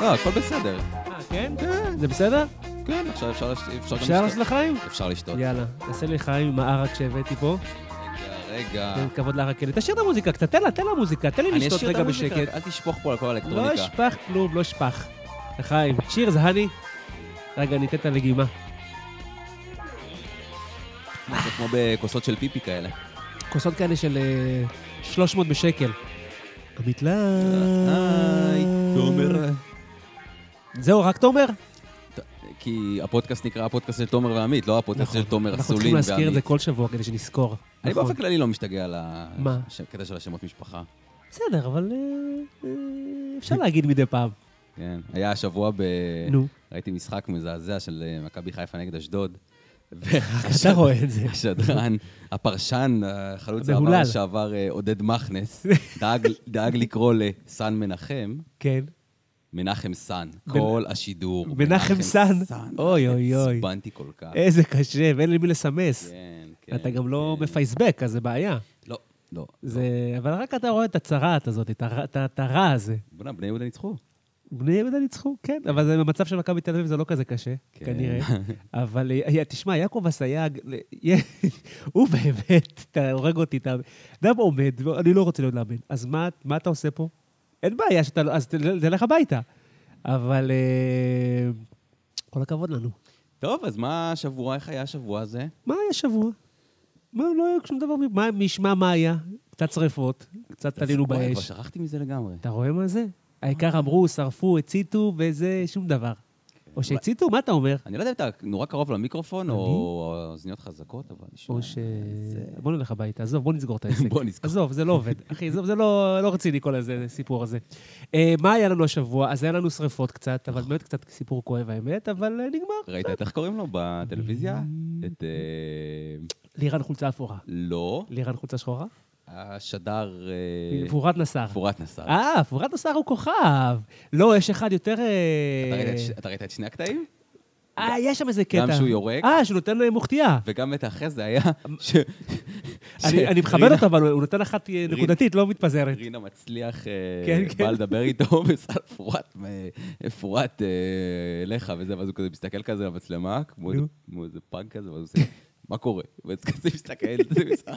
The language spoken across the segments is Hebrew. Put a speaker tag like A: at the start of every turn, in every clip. A: לא, הכל בסדר.
B: אה, כן? זה בסדר?
A: כן, עכשיו אפשר לש- אפשר
B: אפשר
A: גם
B: לעשות
A: לשתות.
B: לך חיים?
A: אפשר לשתות.
B: יאללה, תעשה לי חיים עם הערק שהבאתי פה.
A: אה. רגע, רגע.
B: תן כבוד לערק האלה. תשאיר את המוזיקה קצת, תן לה, תן לה מוזיקה, תן לי
A: אני
B: כן. לשתות
A: אשאיר את
B: רגע
A: המוזיקה,
B: בשקט.
A: אל תשפוך פה על כל
B: לא
A: האלקטרוניקה.
B: אשפך כלום, לא אשפך. לחיים. שיר, זה הני? רגע, ניתן את הלגימה.
A: זה כמו בכוסות של פיפי כאלה.
B: אה, כוסות כאלה של אה, 300 בשקל. עמית לייט.
A: אה,
B: אה,
A: היי, אה. תומר.
B: זהו, רק תומר?
A: כי הפודקאסט נקרא הפודקאסט של תומר ועמית, לא הפודקאסט של תומר,
B: נכון. אנחנו
A: אסולין
B: צריכים
A: ועמית.
B: להזכיר את זה כל שבוע כדי שנזכור.
A: אני
B: נכון.
A: באופן כללי לא משתגע על ה-
B: מה?
A: ש- הקטע של השמות משפחה.
B: בסדר, אבל אה, אה, אפשר להגיד מדי פעם.
A: כן. היה השבוע ב...
B: נו.
A: ראיתי משחק מזעזע של אה, מכבי חיפה נגד אשדוד. ואתה
B: אתה רואה את זה.
A: השדרן, הפרשן, אה, החלוץ
B: המהולל.
A: העבר לשעבר אה, עודד מכנס, דאג- דאג לקרוא לסן מנחם,
B: כן.
A: מנחם סן. כל השידור.
B: מנחם סן. אוי, אוי, אוי. אה.
A: עצבנתי כל כך.
B: איזה קשה, ואין למי לסמס.
A: אה. כן, כן.
B: אתה גם לא
A: כן.
B: מפייסבק, אז זה בעיה.
A: לא, לא.
B: זה... אבל רק אתה רואה את הצרעת הזאת, את הרע- את ה- את הרע הזה.
A: בוא'נה, בני יהודה ניצחו.
B: בני יהודה ניצחו, כן, אבל זה במצב של מכבי תל אביב זה לא כזה קשה,
A: כן.
B: כנראה. אבל אה, היה- תשמע, יעקב אסייג, ל- יה- הוא באמת, אתה הורג אותי, אתה אדם עומד, אני לא רוצה להיות מאמן. אז מה- מה אתה עושה פה? אין בעיה שאתה לא... אז תל- תלך הביתה. אבל אה, כל הכבוד לנו.
A: טוב, אז מה השבוע, איך היה השבוע הזה?
B: מה היה שבוע? מה, לא היה שום דבר, מ- מה- מי ישמע מה היה? קצת שרפות, קצת עלינו
A: וואי, כבר
B: באש.
A: שכחתי מזה לגמרי.
B: אתה רואה מה זה? העיקר אמרו, שרפו, הציתו, וזה שום דבר. או שהציתו, מה אתה אומר?
A: אני לא יודע אם אתה נורא קרוב למיקרופון, או או אוזניות חזקות, אבל... שמע,
B: או ש... בוא נלך הביתה, עזוב, בוא נסגור את העסק.
A: בוא נסגור.
B: עזוב, זה לא עובד. אחי, עזוב, זה לא לא רציני כל הזה, הסיפור הזה. אה, מה היה לנו השבוע? אז היה לנו שריפות קצת, אבל באמת קצת סיפור כואב האמת, אבל אה, נגמר.
A: ראית את איך קוראים לו בטלוויזיה? את... אה,
B: לירן חולצה אפורה.
A: לא.
B: לירן חולצה שחורה?
A: השדר... אה,
B: פורת נסר.
A: פורת נסר.
B: אה, פורת נסר הוא כוכב. לא, יש אחד יותר... אה,
A: אתה ראית את ש- אתה ראית את שני הקטעים?
B: אה, יש שם איזה קטע.
A: גם שהוא יורק?
B: אה, שהוא נותן אה, מוחטייה.
A: וגם את האחרי זה היה... ש- ש-
B: אמ, אני אני מכבד
A: רינה-
B: אותו, אבל הוא נותן אחת אה,
A: רינה-
B: נקודתית, לא מתפזרת.
A: רינה מצליח, אה,
B: כן, כן.
A: בא לדבר איתו, וסל פורט, אה, פורט אה, אליך וזה, ואז הוא כזה מסתכל כזה למצלמה, כמו איזה-
B: נו.
A: כמו איזה פאנק כזה, ואז הוא עושה, מה קורה? ואז כזה מסתכל, זה מסתכל.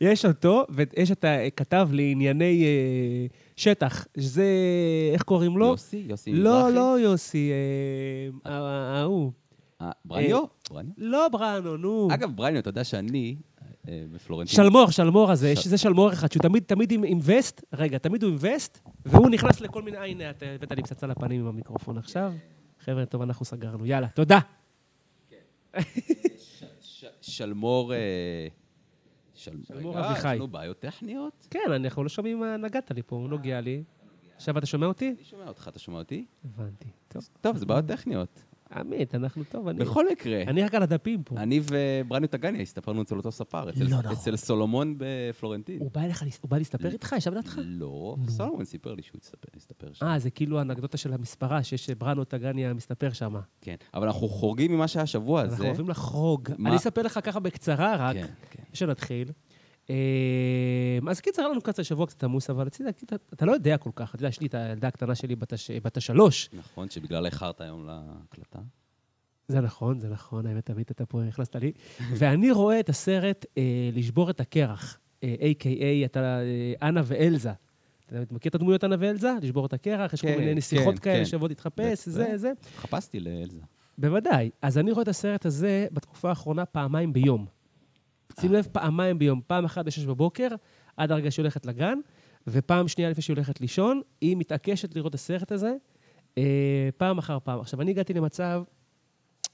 B: יש אותו, ויש את הכתב לענייני אה, שטח, שזה, איך קוראים לו?
A: יוסי? יוסי
B: לא,
A: מזרחי?
B: לא יוסי, אה, אה, אה, ההוא.
A: אה, ברניו? ברניו?
B: לא בראנו, נו.
A: אגב, ברניו, אתה יודע שאני אה, בפלורנטין.
B: שלמור, שלמור הזה,
A: של-
B: יש איזה שלמור אחד, שהוא תמיד, תמיד עם, עם וסט, רגע, תמיד הוא עם וסט, והוא נכנס לכל מיני, אה, הנה, אתה הבאת לי פצצה לפנים עם המיקרופון עכשיו. חבר'ה, טוב, אנחנו סגרנו, יאללה, תודה.
A: ש- שלמור... אה, של-
B: שלמור
A: רגע,
B: אביחי.
A: יש לנו בעיות טכניות?
B: כן, אנחנו לא שומעים מה נגעת לי פה, הוא נוגע לי. עכשיו אתה שומע אותי?
A: אני שומע אותך, אתה שומע אותי?
B: הבנתי. טוב,
A: טוב, זה בעיות טכניות.
B: עמית, אנחנו טוב, אני...
A: בכל מקרה,
B: אני רק על הדפים פה.
A: אני וברניו טגניה הסתפרנו אצל אותו ספר, אצל-
B: לא נכון.
A: אצל סולומון בפלורנטין.
B: הוא בא אליך, להס- הוא בא להסתפר איתך, ישב לידך?
A: לא, סולומון סיפר לי שהוא הסתפר- הסתפר שם.
B: אה, זה כאילו האנקדוטה של המספרה, שיש בראנו טגניה מסתפר שם.
A: כן, אבל אנחנו חורגים ממה שהיה השבוע הזה.
B: אנחנו אוהבים לחרוג.
A: מה?
B: אני אספר לך ככה בקצרה רק,
A: כן, כן.
B: שנתחיל. אמ, אז קיצר, היה לנו קצת השבוע קצת עמוס, אבל רציתי להגיד, אתה- אתה לא יודע כל כך, אתה יודע, יש לי את הילדה הקטנה שלי בת הש- בת השלוש.
A: נכון, שבגלל איחרת היום להקלטה.
B: זה נכון, זה נכון, האמת, עמית, אתה פה הכנסת לי. ואני רואה את הסרט אה, לשבור את הקרח, אה, A.K.A, אתה, אה, אנה ואלזה. אתה מכיר את הדמויות אנה ואלזה? לשבור את הקרח, יש כל
A: כן,
B: מיני
A: כן,
B: נסיכות
A: כן.
B: כאלה שאוהבות להתחפש,
A: בטח.
B: זה, זה.
A: חפשתי לאלזה.
B: בוודאי. אז אני רואה את הסרט הזה בתקופה האחרונה פעמיים ביום. שים לב, פעמיים ביום. פעם אחת בשש בבוקר, עד הרגע שהיא הולכת לגן, ופעם שנייה לפני שהיא הולכת לישון, היא מתעקשת לראות את הסרט הזה, אה, פעם אחר פעם. עכשיו, אני הגעתי למצב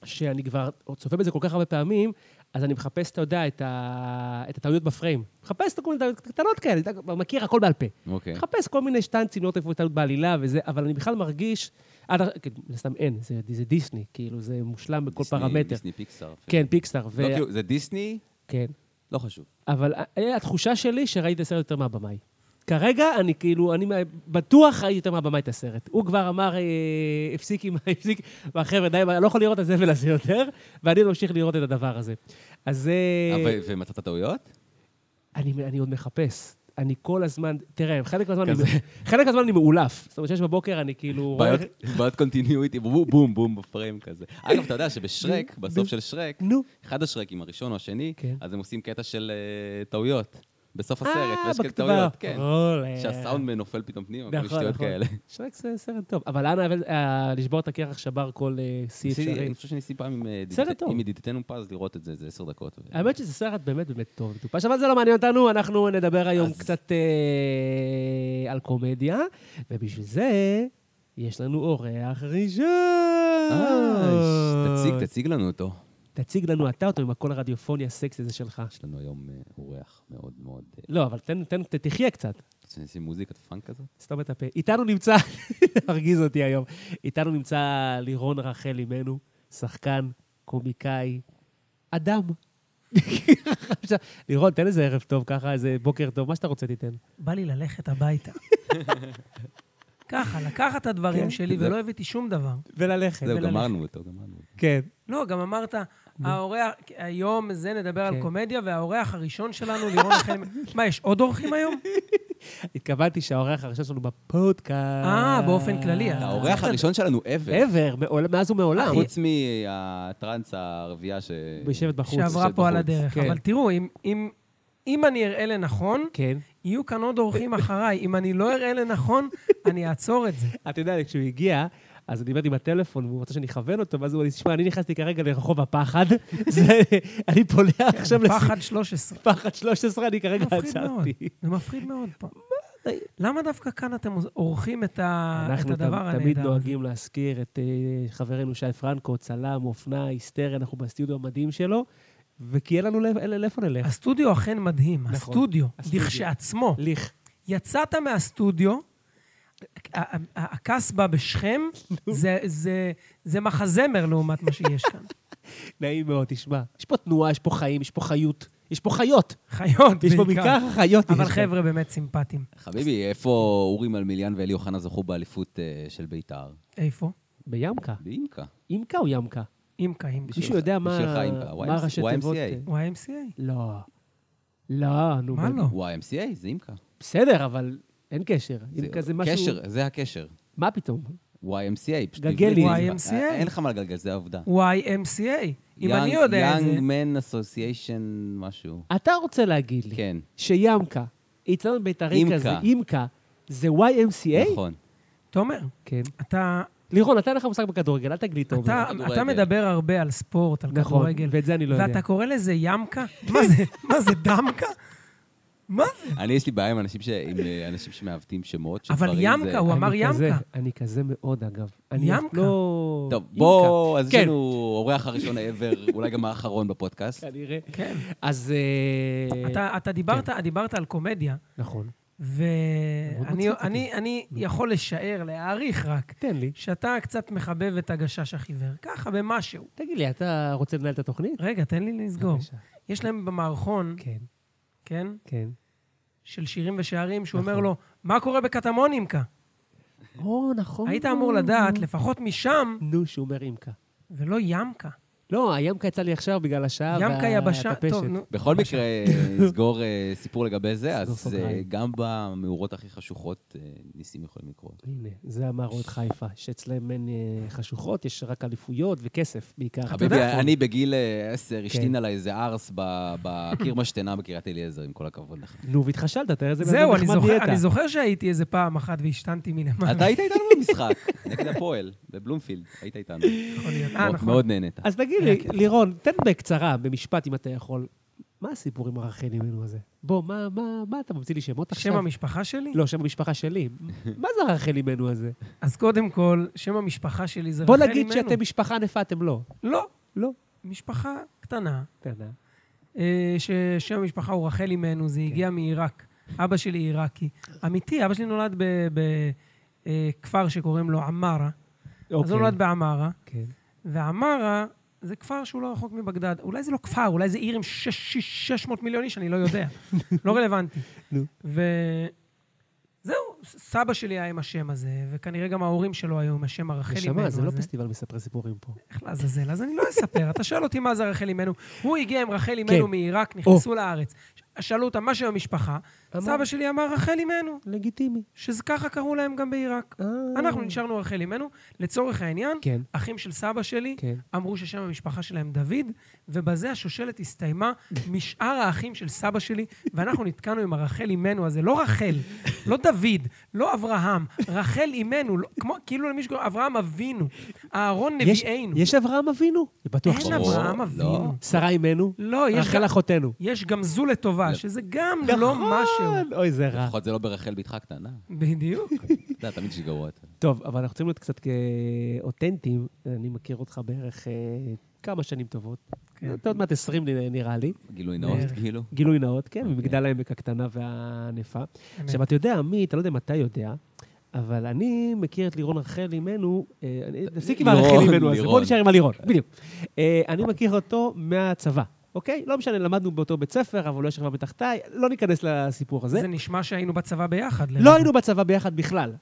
B: שאני כבר צופה בזה כל כך הרבה פעמים, אז אני מחפש, אתה יודע, את, ה... את הטעויות בפריים. מחפש את כל מיני טעויות קטנות כאלה, אתה כבר מכיר הכל בעל פה.
A: אוקיי.
B: מחפש כל מיני שטנצים, לראות איפה הייתה בעלילה וזה, אבל אני בכלל מרגיש, עד הר- כאילו, מן הסתם אין, זה, זה דיסני, כאילו, זה מושלם בכל
A: דיסני-
B: פרמטר.
A: דיסני פיקסאר. אפילו.
B: כן, פיקסאר. ו...
A: לא, כאילו, זה דיסני?
B: כן.
A: לא חשוב.
B: אבל אה, התחושה שלי שראיתי את הסרט יותר מהבמאי. כרגע אני כאילו, אני בטוח ראיתי יותר מהבמאי את הסרט. הוא כבר אמר, אה, הפסיק עם ה... הפסיק, אמר, חבר'ה, די, אני לא יכול לראות את הזבל הזה יותר, ואני ממשיך לראות את הדבר הזה. אז אה,
A: אה, ו- ומצאת טעויות?
B: אני, אני עוד מחפש. אני כל הזמן, תראה, חלק מהזמן אני-
A: כזה.
B: חלק מהזמן אני מאולף. זאת אומרת, שש בבוקר אני כאילו...
A: בעיות-
B: רואה-
A: בעיות קונטיניויטי, בום, בום, בום בפריים כזה. אגב, אתה יודע שבשרק,
B: נו.
A: בסוף של שרק,
B: נו.
A: אחד השרקים, הראשון או השני,
B: כן.
A: אז הם עושים קטע של אה, טעויות. בסוף הסרט,
B: אה,
A: ויש כאלה
B: בכתבה.
A: טעויות, כן.
B: אולה.
A: שהסאונדמן נופל פתאום פנימה, כל מיני
B: נכון,
A: שטויות
B: נכון.
A: כאלה.
B: שרק זה סרט טוב. אבל אנה, אבל, אה, לשבור את הקרח שבר כל אה, שיא
A: ניסיתי-
B: אפשרי.
A: אני חושב שניסיתי פעם עם, אה, ידידתי-
B: סרט טוב.
A: עם ידידתנו פז לראות את זה, זה עשר דקות. ו-
B: האמת שזה סרט באמת באמת טוב, מטופש, אבל זה לא מעניין אותנו, אנחנו נדבר היום
A: אז-
B: קצת אה, על קומדיה, ובשביל זה יש לנו אורח ראשון.
A: אה, תציג, תציג לנו אותו.
B: תציג לנו אתה אותו עם הקול הרדיופוני הסקסי הזה שלך.
A: יש לנו היום אה, אורח מאוד מאוד... אה,
B: לא, אבל תן, תן, ת- תחיה קצת.
A: רוצים לשים מוזיקת פאנק כזאת?
B: סתום את הפה. איתנו נמצא, הרגיז אותי היום, איתנו נמצא לירון רחל אימנו, שחקן, קומיקאי, אדם. לירון, תן איזה ערב טוב ככה, איזה בוקר טוב, מה שאתה רוצה תיתן.
C: בא לי ללכת הביתה. ככה, לקחת את
B: כן.
C: הדברים שלי
A: זה-
C: ולא הבאתי שום דבר.
B: וללכת.
A: זהו,
C: וללכת.
A: גמרנו אותו, גמרנו.
B: כן.
C: לא, גם אמרת, האורח, היום זה נדבר על
B: כן.
C: קומדיה, והאורח הראשון שלנו, לירון החל... מה, יש עוד אורחים היום?
B: התכוונתי שהאורח הראשון שלנו בפודקאסט.
C: אה, באופן כללי, אז-
A: האורח הראשון שלנו ever.
B: ever, מעול- מאז ומעולם.
A: אה, חוץ מהטראנס הערבייה ש...
B: יושבת בחוץ.
C: שעברה
A: בחוץ.
C: פה על הדרך.
B: כן.
C: אבל תראו, אם- אם- אם אני אראה לנכון,
B: כן.
C: יהיו כאן עוד אורחים אחריי. אם אני לא אראה לנכון, אני אעצור את זה.
B: אתה יודע, כשהוא הגיע, אז הוא דיבר עם הטלפון, והוא רצה שאני אכוון אותו, ואז הוא אמר לי, תשמע, אני נכנסתי כרגע לרחוב הפחד, זה- אני פולח עכשיו
C: פחד 13.
B: לפחד 13, אני כרגע
C: מפחיד מאוד.
B: עצרתי.
C: זה מפחיד מאוד פה. למה דווקא כאן אתם עורכים את ה- אה, את
B: אנחנו
C: הדבר
B: תמ-
C: הנהדר?
B: תמיד
C: הזה?
B: נוהגים להזכיר את אה, חברנו שי פרנקו, צלם, אופנה, היסטריה, אנחנו בסטודיו המדהים שלו, וכי אין לנו לב- אין- לאיפה נלך.
C: הסטודיו אכן מדהים,
B: כן. נכון,
C: הסטודיו,
B: הסטודיו.
C: לכשעצמו.
B: ליך.
C: יצאת מהסטודיו, ה- ה- ה- הקסבה בשכם, זה- זה- זה מחזמר לעומת מה שיש כאן.
B: נעים מאוד, תשמע. יש פה תנועה, יש פה חיים, יש פה חיות. יש פה חיות.
C: חיות
B: יש פה כן. בעיקר
C: בעיקר.
B: חיות.
C: אבל
B: יש פה.
C: חבר'ה באמת סימפטיים.
A: חביבי, איפה אורי מלמיליאן ואלי אוחנה זכו באליפות אה, של בית"ר?
C: איפה?
B: בימקה.
A: באינקה.
B: אימקה או ימקה?
C: אימקה, אימקה.
B: מישהו יודע מה
A: בשבילך אימקה.
B: מה
A: YMCA.
B: ראשי תיבות? אה,
C: YMCA?
B: לא. לא, נו.
C: מה
B: ב-
C: לא?
A: YMCA, זה אינקה.
B: בסדר, אבל אין קשר. אימקה זה משהו...
A: קשר, זה הקשר.
B: מה פתאום?
A: YMCA, פשוט...
B: גגלי.
A: עברית,
C: YMCA.
A: אה, אין לך מה לגלגל, זה העובדה.
C: YMCA. אם
A: Young-
C: אני יודע את זה...
A: Young Men Association משהו.
B: אתה רוצה להגיד לי
A: כן,
B: שימקה, אצטדיון בית"רי
A: אימקה.
B: כזה, אימקה, זה YMCA?
A: נכון.
C: תומר,
B: כן.
C: אתה
B: לירון, אתה אין לך מושג בכדורגל, אל תגיד לי טוב. לא
C: אתה-
A: כדורגל.
C: אתה מדבר הרבה על ספורט, על
B: נכון,
C: כדורגל.
B: ואת זה אני לא יודע.
C: ואתה קורא לזה ימקה? מה זה, מה זה דמקה? מה זה?
A: אני, יש לי בעיה עם אנשים ש- עם, אה, אנשים שמעוותים שמות.
C: אבל
A: שדברים זה-
C: ימקה, הוא אמר
B: אני כזה-
C: ימקה.
B: אני כזה מאוד, אגב. אני
C: ימקה.
B: לא...
A: טוב,
B: אימקה.
A: בוא, אז יש
B: כן.
A: לנו אורח הראשון ever, אולי גם האחרון בפודקאסט.
B: כנראה.
C: כן.
B: אז... אה,
C: אתה, אתה דיברת, דיברת על קומדיה,
B: נכון. מאוד
C: ואני
B: מצחיק אותי. נכון.
C: אני, אני יכול לשער, להעריך רק,
B: תן לי.
C: שאתה קצת מחבב את הגשש החיוור. ככה, במשהו.
B: תגיד לי, אתה רוצה לנהל את התוכנית?
C: רגע, תן לי לסגור.
B: בבקשה.
C: יש להם במערכון,
B: כן,
C: כן,
B: כן.
C: של שירים ושערים, שהוא אומר
B: נכון.
C: לו, מה קורה בקטמון אימקה?
B: או, נכון.
C: היית אמור לדעת, לפחות משם,
B: נו, שהוא אומר אימקה.
C: ולא ימקה.
B: לא, הימקה יצא לי עכשיו בגלל השעה
C: ימקה יבשה,
B: והטפשת.
C: טוב, נו.
A: בכל מקרה, נסגור אה, סיפור לגבי זה,
B: סגור
A: אז אה,
B: סוגריים.
A: גם במאורות הכי חשוכות אה, ניסים יכולים לקרות.
B: הנה, זה המערות חיפה, שאצלם אין אה, חשוכות, יש רק אליפויות וכסף בעיקר.
A: חביבי,
C: יודע,
A: אני בגיל אה, עשר,
B: כן.
A: השתין עליי איזה ארס ב- בקיר משתנה בקריית אליעזר, עם כל הכבוד לך.
B: נו, והתחשלת, תראה איזה בן
C: זהו,
B: אדם
C: אני
B: נחמד
C: זוכר,
B: נהיית.
C: אני זוכר שהייתי איזה פעם אחת והשתנתי מלמעלה.
A: אתה היית איתנו במשחק, נגד הפועל, בבלומפילד, היית איתנו.
C: יכול להיות. אה,
A: מאוד-
C: נכון.
A: מאוד נהנית.
B: אז תגיד
C: היה
B: לי, לירון, תן בקצרה, במשפט אם אתה יכול, מה הסיפור עם הרחל אימנו הזה? בוא, מה- מה- מה אתה ממציא לי שמות עכשיו?
C: שם המשפחה שלי?
B: לא, שם המשפחה שלי. מה זה הרחל אימנו הזה?
C: אז קודם כל, שם המשפחה שלי זה
B: בוא
C: רחל
B: נגיד
C: אימנו.
B: שאתם משפחה ענפה, אתם לא.
C: לא,
B: לא.
C: משפחה קטנה,
B: קטנה.
C: אה, ששם המשפחה הוא רחל אימנו,
B: כן.
C: זה הגיע מעיראק. אבא שלי עיראקי. אמיתי, אבא שלי נולד בכפר שקוראים לו עמארה. אז הוא נולד בעמארה,
B: אוקיי, כן.
C: ועמארה זה כפר שהוא לא רחוק מבגדד. אולי זה לא כפר, אולי זה עיר עם שש- שש- 600 מיליון איש, אני לא יודע. לא רלוונטי.
B: נו.
C: וזהו, סבא שלי היה עם השם הזה, וכנראה גם ההורים שלו היו עם השם הרחל אימנו
B: נשמה,
C: הזה.
B: זה לא פסטיבל מספרי סיפורים פה.
C: איך לעזאזל? אז אני לא אספר. אתה שואל אותי מה זה רחל אימנו. הוא הגיע עם רחל אימנו
B: כן.
C: מעיראק, נכנסו לארץ. שאלו אותה, מה שם המשפחה?
B: אמר.
C: סבא שלי אמר רחל אימנו,
B: לגיטימי.
C: שככה קראו להם גם בעיראק.
B: אה.
C: אנחנו נשארנו רחל אימנו. לצורך העניין,
B: כן.
C: אחים של סבא שלי
B: כן.
C: אמרו ששם המשפחה שלהם דוד, ובזה השושלת הסתיימה משאר האחים של סבא שלי, ואנחנו נתקענו עם הרחל אימנו הזה. לא רחל, לא דוד, לא אברהם, רחל אימנו, לא, כמו, כאילו למישהו קוראים אברהם אבינו, אהרון
B: יש-
C: נביאנו.
B: יש אברהם אבינו? אני בטוח
C: אין
B: שיש.
A: ברור,
C: אברהם
A: לא.
C: אבינו.
B: שרה אימנו?
C: לא, יש
B: רחל כן.
C: גם-
B: אחותנו.
C: יש גם זו לטובה, שזה גם לא משהו.
B: נכון, אוי, זה רע.
A: לפחות זה לא ברחל בתך הקטנה.
C: בדיוק.
A: אתה יודע, תמיד שגרוע.
B: טוב, אבל אנחנו צריכים להיות קצת כאותנטיים. אני מכיר אותך בערך אה, כמה שנים טובות.
C: כן.
B: אתה עוד מעט 20 נ- נראה לי.
A: גילוי נאות,
C: בערך.
A: כאילו.
B: גילוי נאות, כן,
A: אוקיי.
B: במגדל העמק הקטנה והענפה. עכשיו, אתה יודע, עמית, אני לא יודע אם אתה יודע, אבל אני מכיר את לירון רחל אימנו, אה, אני- תפסיק עם
A: לירון,
B: הרחל אימנו הזה, בוא
A: לירון.
B: נשאר עם הלירון, בדיוק. אה, אני מכיר אותו מהצבא, אוקיי? לא משנה, למדנו באותו בית ספר, אבל הוא לא שכבה מתחתיי, לא ניכנס לסיפור הזה.
C: זה נשמע שהיינו בצבא ביחד.
B: לא היינו בצבא ביחד בכלל.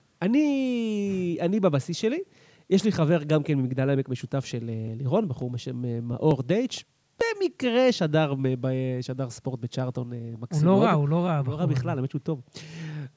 B: אני, אני בבסיס שלי, יש לי חבר גם כן ממגדל העמק משותף של אה, לירון, בחור בשם אה, מאור דייץ', במקרה שדר, מ- ב- שדר ספורט בצ'ארטון אה,
C: הוא
B: מקסים
C: לא
B: מאוד.
C: רע, הוא לא
B: לא
C: רע. הבחור
B: רע
C: הזה.
B: בכלל, האמת שהוא טוב.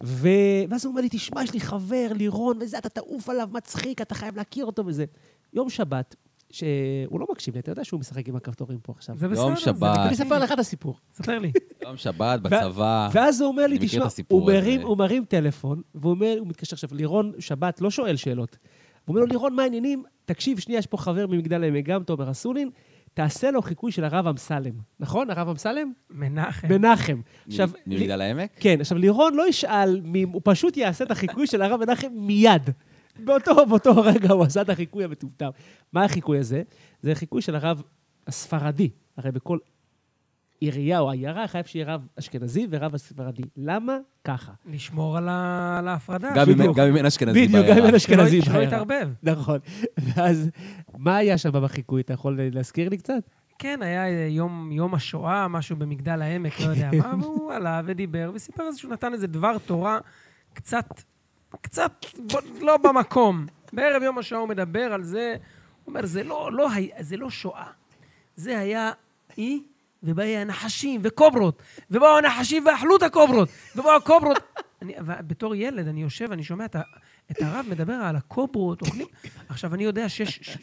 B: ו... ואז הוא אומר לי, תשמע, יש לי חבר, לירון, וזה, אתה תעוף עליו, מצחיק, אתה חייב להכיר אותו וזה. יום שבת, שהוא לא מקשיב לי, אתה יודע שהוא משחק עם הכפתורים פה עכשיו.
C: זה לא בסדר.
A: יום
C: זה
A: שבת.
B: אני
C: לגיטימי.
B: אספר לך את הסיפור.
C: ספר לי.
A: יום שבת, בצבא.
B: ואז הוא אומר לי,
A: אה, אני מכיר
B: תשמע,
A: את הסיפור
B: הוא מרים,
A: הזה."
B: הוא מרים טלפון, והוא אומר, הוא מתקשר עכשיו, לירון שבת לא שואל שאלות. הוא אומר לו, לירון, מה העניינים? תקשיב, שנייה, יש פה חבר ממגדל העמק, גם תומר אסולין, תעשה לו חיקוי של הרב אמסלם. נכון? הרב אמסלם?
C: מנחם.
B: מנחם.
A: מ-
B: עכשיו... לי-
A: ממגדל העמק?
B: כן, עכשיו לירון לא ישאל, מי- הוא פשוט יעשה את החיקוי של הרב מנחם מיד. באותו, באותו רגע הוא עשה את החיקוי המטומטם. מה החיקוי הזה? זה חיקוי של הרב הספרדי. הרי בכל עירייה או עיירה חייב שיהיה רב אשכנזי ורב ספרדי. למה? ככה.
C: לשמור על ה- על ההפרדה.
A: גם אם-
B: אה, בדיוק.
A: גם אם אין אשכנזי
B: בדיוק, גם
A: בעיירה.
B: אם אין
C: שלא-
B: אשכנזי
C: שלא
B: בעיירה.
C: יתערבב.
B: נכון. ואז, מה היה שם בחיקוי? אתה יכול להזכיר לי קצת?
C: כן, היה אה, יום, יום השואה, משהו במגדל העמק, לא יודע מה, והוא עלה ודיבר וסיפר איזה שהוא נתן איזה דבר תורה קצת, קצת ב- לא במקום. בערב יום השואה הוא מדבר על זה, הוא אומר, זה לא, לא, היה- זה לא שואה, זה היה אי, ובאי הנחשים וקוברות, ובאו הנחשים ואכלו את הקוברות, ובאו הקוברות. אני, ו- בתור ילד, אני יושב, אני שומע את, ה- את הרב מדבר על הקוברות, אוכלים... עכשיו, אני יודע שיש... ש-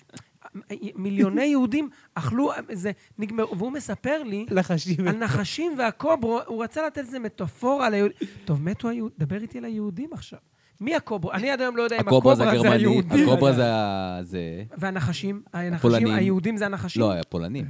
C: מיליוני יהודים אכלו, זה נגמר, והוא מספר לי
B: נחשים.
C: על נחשים והקוברו, הוא רצה לתת איזה מטאפורה על היהודים. טוב, מתו היהודים, דבר איתי על היהודים עכשיו. מי הקוברו? אני עד היום לא יודע אם
A: הקוברה
C: הקוברה
A: זה
C: זה
A: הגרמני,
C: היהודים.
A: הקוברה זה ה... זה...
C: והנחשים, הנחשים,
A: הפולנים.
C: היהודים זה הנחשים.
A: לא, הפולנים.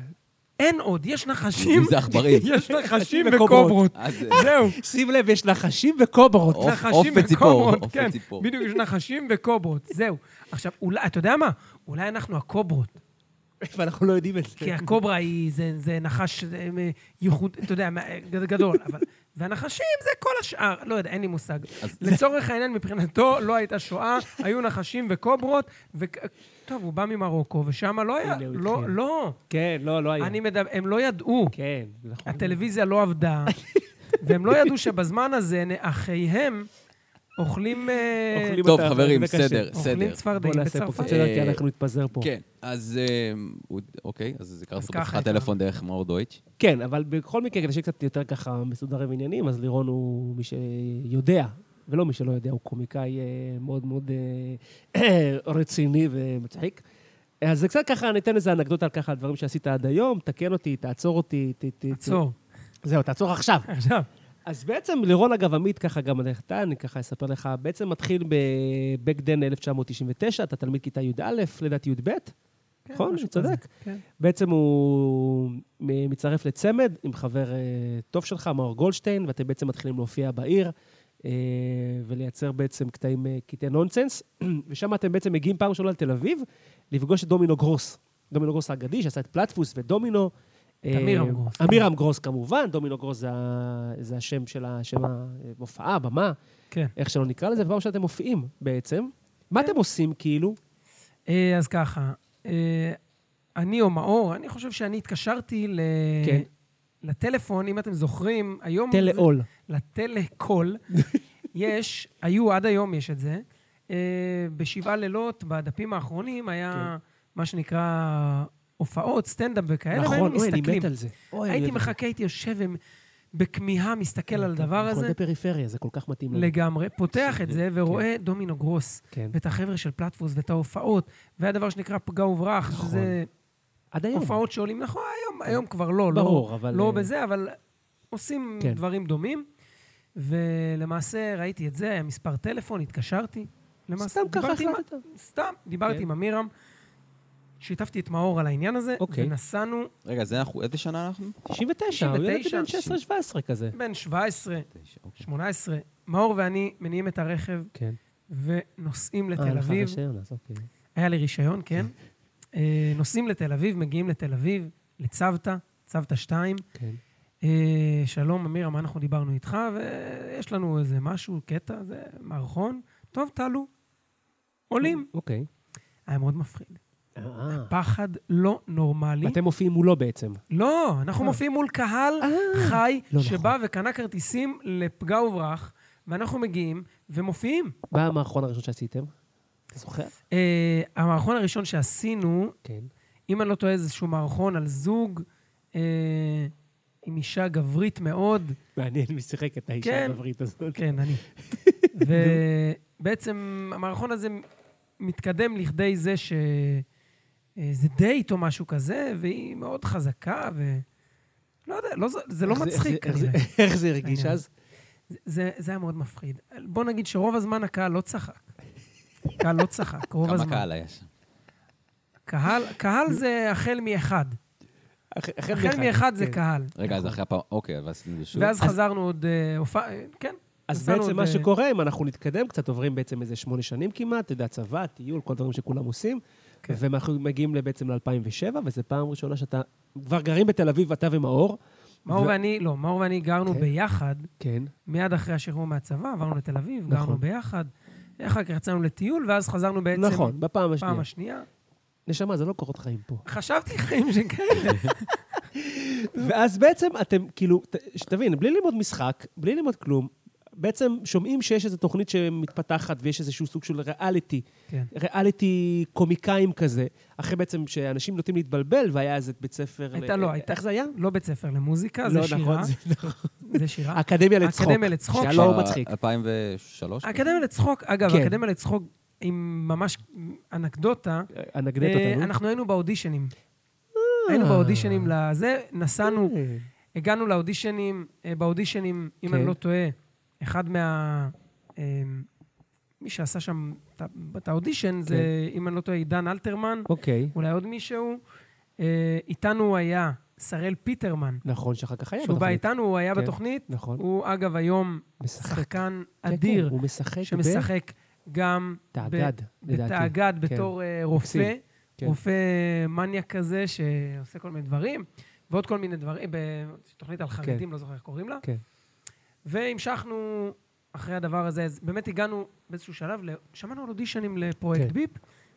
C: אין עוד, יש נחשים.
A: זה עכברים.
C: יש נחשים
B: וקוברות.
C: וקוברות.
A: אז אה,
C: זהו.
B: שים לב, יש נחשים וקוברות.
A: עוף-
C: נחשים
A: עוף וציפור,
C: וקוברות,
A: עוף
C: כן.
A: וציפור.
C: בדיוק, יש נחשים וקוברות, זהו. עכשיו, אולי, אתה יודע מה? אולי אנחנו הקוברות.
B: כן. ואנחנו לא יודעים את זה.
C: כי הקוברה היא, זה, זה נחש זה, אה, ייחוד, אתה יודע, מה- גד- גדול, אבל... והנחשים זה כל השאר, לא יודע, אין לי מושג. לצורך העניין, מבחינתו לא הייתה שואה, היו נחשים וקוברות, ו... טוב, הוא בא ממרוקו, ושם לא היה,
B: הנה, הוא
C: לא,
B: התחיל.
C: לא.
B: כן, לא, לא היה.
C: אני מדבר, הם לא ידעו.
B: כן, נכון.
C: הטלוויזיה לא עבדה, והם לא ידעו שבזמן הזה נ- אחיהם אוכלים... אה,
B: אוכלים
A: טוב,
B: אתה-
A: חברים,
B: זה קשה.
A: סדר,
C: אוכלים
A: סדר.
C: צפרדעים
B: בוא נעשה פה קצת
C: בצרפת.
B: סדר,
A: אה,
B: כי אנחנו נתפזר פה.
A: כן, אז אה, הוא- אוקיי, אז הכרתי
C: אז
A: אותו
C: ככה
A: בשיחת
C: הייתה.
A: טלפון דרך מאור דויטש.
B: כן, אבל בכל מקרה, כדי שיהיה קצת יותר ככה מסודר עם עניינים, אז לירון הוא מי שיודע, ולא מי שלא יודע, הוא קומיקאי אה, מאוד מאוד אה, רציני ומצחיק. אז זה קצת ככה, ניתן איזה אנקדוטה על ככה, על דברים שעשית עד היום, תקן אותי, תעצור אותי. ת- ת- ת-
C: עצור.
B: זהו, תעצור עכשיו.
C: עכשיו,
B: אז בעצם לירון, אגב, עמית, ככה גם עליך, אתה, אני ככה אספר לך, בעצם מתחיל ב-Back then 1999, אתה תלמיד כיתה י"א, לדעתי י"ב,
C: כן,
B: נכון? אני
C: משהו כזה.
B: צודק.
C: כן.
B: בעצם הוא מ- מצטרף לצמד עם חבר אה, טוב שלך, מאור גולדשטיין, ואתם בעצם מתחילים להופיע בעיר אה, ולייצר בעצם קטעים, אה, קטעי נונסנס, ושם אתם בעצם מגיעים פעם ראשונה לתל אביב לפגוש את דומינו גרוס. דומינו גרוס האגדי, שעשה את פלטפוס ודומינו. אה,
C: אמירם גרוס.
B: אמירם גרוס כמובן, דומינו גרוס זה, ה- זה השם של ה- שם המופעה, הבמה,
C: כן.
B: איך שלא נקרא לזה, ופעם שאתם מופיעים בעצם. מה אתם עושים כאילו?
C: אה, אז ככה, אה, אני או מאור, אני חושב שאני התקשרתי ל...
B: כן.
C: לטלפון, אם אתם זוכרים, היום... זה-
B: טלעול.
C: לטלקול. יש, היו, עד היום יש את זה. אה, בשבעה לילות, בדפים האחרונים, היה
B: כן.
C: מה שנקרא הופעות, סטנדאפ וכאלה, והיינו
B: נכון, אוי, אני
C: מסתכלים.
B: מת על זה. אוי, אני
C: הייתי
B: מת על זה.
C: מחכה, הייתי יושב בכמיהה מסתכל על הדבר הזה,
B: קולטי פריפריה, זה כן, כל כך מתאים לנו.
C: לגמרי, פותח את זה ורואה דומינו גרוס,
B: כן.
C: ואת החבר'ה של פלטפוס ואת ההופעות, והדבר שנקרא פגע וברח,
B: נכון.
C: שזה
B: עד היום.
C: הופעות שעולים, נכון, היום, היום כבר לא,
B: ברור,
C: לא,
B: אבל,
C: לא
B: אה,
C: בזה, אבל עושים
B: כן.
C: דברים דומים. ולמעשה ראיתי את זה, היה מספר טלפון, התקשרתי. למעשה,
B: סתם ככה
C: דיברתי עם-
B: החלטת.
C: סתם, דיברתי
B: כן.
C: עם אמירם, שיתפתי את מאור על העניין הזה,
B: אוקיי.
C: ונסענו
A: רגע, זה אנחנו, איזה שנה אנחנו?
B: 99, הוא ילד
C: 99,
B: בן 16-17 כזה.
C: בין 17,
A: תשע, אוקיי.
C: 18, מאור ואני מניעים את הרכב
B: כן.
C: ונוסעים
B: אה,
C: לתל
B: לך
C: אביב. כן.
B: רישיון, אז אוקיי.
C: היה לי רישיון, כן. אה, נוסעים לתל אביב, מגיעים לתל אביב, לצוותא, צוותא 2.
B: כן.
C: אה, שלום, אמיר, מה אנחנו דיברנו איתך? ויש לנו איזה משהו, קטע, זה מערכון. טוב, תעלו. עולים.
B: אוקיי.
C: היה מאוד מפחיד.
B: אה.
C: פחד לא נורמלי.
B: אתם מופיעים מולו בעצם.
C: לא, אנחנו מופיעים מול קהל חי,
B: לא
C: שבא וקנה כרטיסים לפגע וברח, ואנחנו מגיעים ומופיעים.
B: מה המערכון הראשון שעשיתם? אתה זוכר?
C: אה, המערכון הראשון שעשינו,
B: כן.
C: אם אני לא טועה, זה איזשהו מערכון על זוג אה, עם אישה גברית מאוד.
B: מעניין מי שיחק את האישה
C: כן.
B: הגברית הזאת.
C: כן, אני. ובעצם המערכון הזה מתקדם לכדי זה ש... אה, זה דייט או משהו כזה, והיא מאוד חזקה, ו... לא יודע, לא, ז- זה לא
B: איך
C: מצחיק
B: איך זה-
C: כנראה.
B: איך זה הרגיש
C: העניין.
B: אז?
C: זה, זה היה מאוד מפחיד. בוא נגיד שרוב הזמן הקהל לא צחק. הקהל לא צחק, רוב
A: כמה
C: הזמן.
A: קהל היה שם?
C: קהל? קהל זה החל מאחד.
B: אח-
C: החל מאחד
B: כן.
C: זה קהל.
A: רגע, אז אחרי הפעם, אוקיי, אז עשינו את זה שוב.
C: ואז חזרנו עוד אה, הופעה, אה, כן.
B: אז
C: נסענו
B: בעצם
C: עוד,
B: מה
C: אה,
B: שקורה, אם אנחנו נתקדם קצת, עוברים בעצם איזה שמונה שנים כמעט, אתה יודע, צבא, טיול, כל דברים שכולם עושים.
C: כן.
B: ואנחנו מגיעים בעצם ל-2007, וזו פעם ראשונה שאתה... כבר גרים בתל אביב, אתה ומאור.
C: מאור
B: ו-
C: ואני, לא, מאור ואני גרנו
B: כן.
C: ביחד,
B: כן.
C: מיד אחרי השחרור מהצבא, עברנו לתל אביב,
B: נכון.
C: גרנו ביחד. אחר כך יצאנו לטיול, ואז חזרנו בעצם...
B: נכון, בפעם
C: פעם
B: השנייה.
C: השנייה.
B: נשמה, זה לא קורות חיים פה.
C: חשבתי חיים שכאלה.
B: ואז בעצם אתם, כאילו, ת- שתבין, בלי ללמוד משחק, בלי ללמוד כלום, בעצם שומעים שיש איזו תוכנית שמתפתחת ויש איזשהו סוג של ריאליטי,
C: כן.
B: ריאליטי קומיקאים כזה, אחרי בעצם שאנשים נוטים להתבלבל, והיה איזה בית ספר...
C: הייתה,
B: ל-
C: לא, הייתה-
B: איך זה היה?
C: לא בית ספר למוזיקה, זה
B: לא,
C: שירה.
B: נכון, זה נכון.
C: זה שירה.
B: האקדמיה לצחוק.
C: האקדמיה לצחוק.
B: שהיה
C: של
B: לא
A: כבר
B: מצחיק.
A: 2003?
C: האקדמיה לצחוק, אגב,
B: כן.
C: האקדמיה לצחוק עם ממש אנקדוטה.
B: אנקדטה,
C: אה,
B: נו.
C: אנחנו היינו באודישנים. היינו באודישנים לזה, נסענו,
B: אה,
C: הגענו לאודישנים, אה, באודישנים, אם
B: כן.
C: אני לא טועה, אחד מה... אה, מי שעשה שם את ה- את האודישן זה,
B: כן.
C: אם אני לא טועה, עידן אלתרמן,
B: אוקיי.
C: אולי עוד מישהו. אה, איתנו היה שראל פיטרמן,
B: נכון, שאחר כך היה
C: שהוא בא
B: בתוכנית.
C: איתנו, הוא היה
B: כן.
C: בתוכנית.
B: נכון.
C: הוא, אגב, היום
B: משחק.
C: שחקן
B: כן,
C: אדיר.
B: כן, הוא משחק ב...
C: שמשחק גם...
B: תאגד,
C: ב-
B: לדעתי.
C: בתאגד
B: כן.
C: בתור אה, רופא,
B: מקסים, כן.
C: רופא מניאק כזה שעושה כל מיני דברים, ועוד כל מיני דברים, בתוכנית על חרדים, לא זוכר איך קוראים לה.
B: כן.
C: והמשכנו אחרי הדבר הזה, אז באמת הגענו באיזשהו שלב, ל- שמענו על אודישנים לפרויקט
B: כן.
C: ביפ,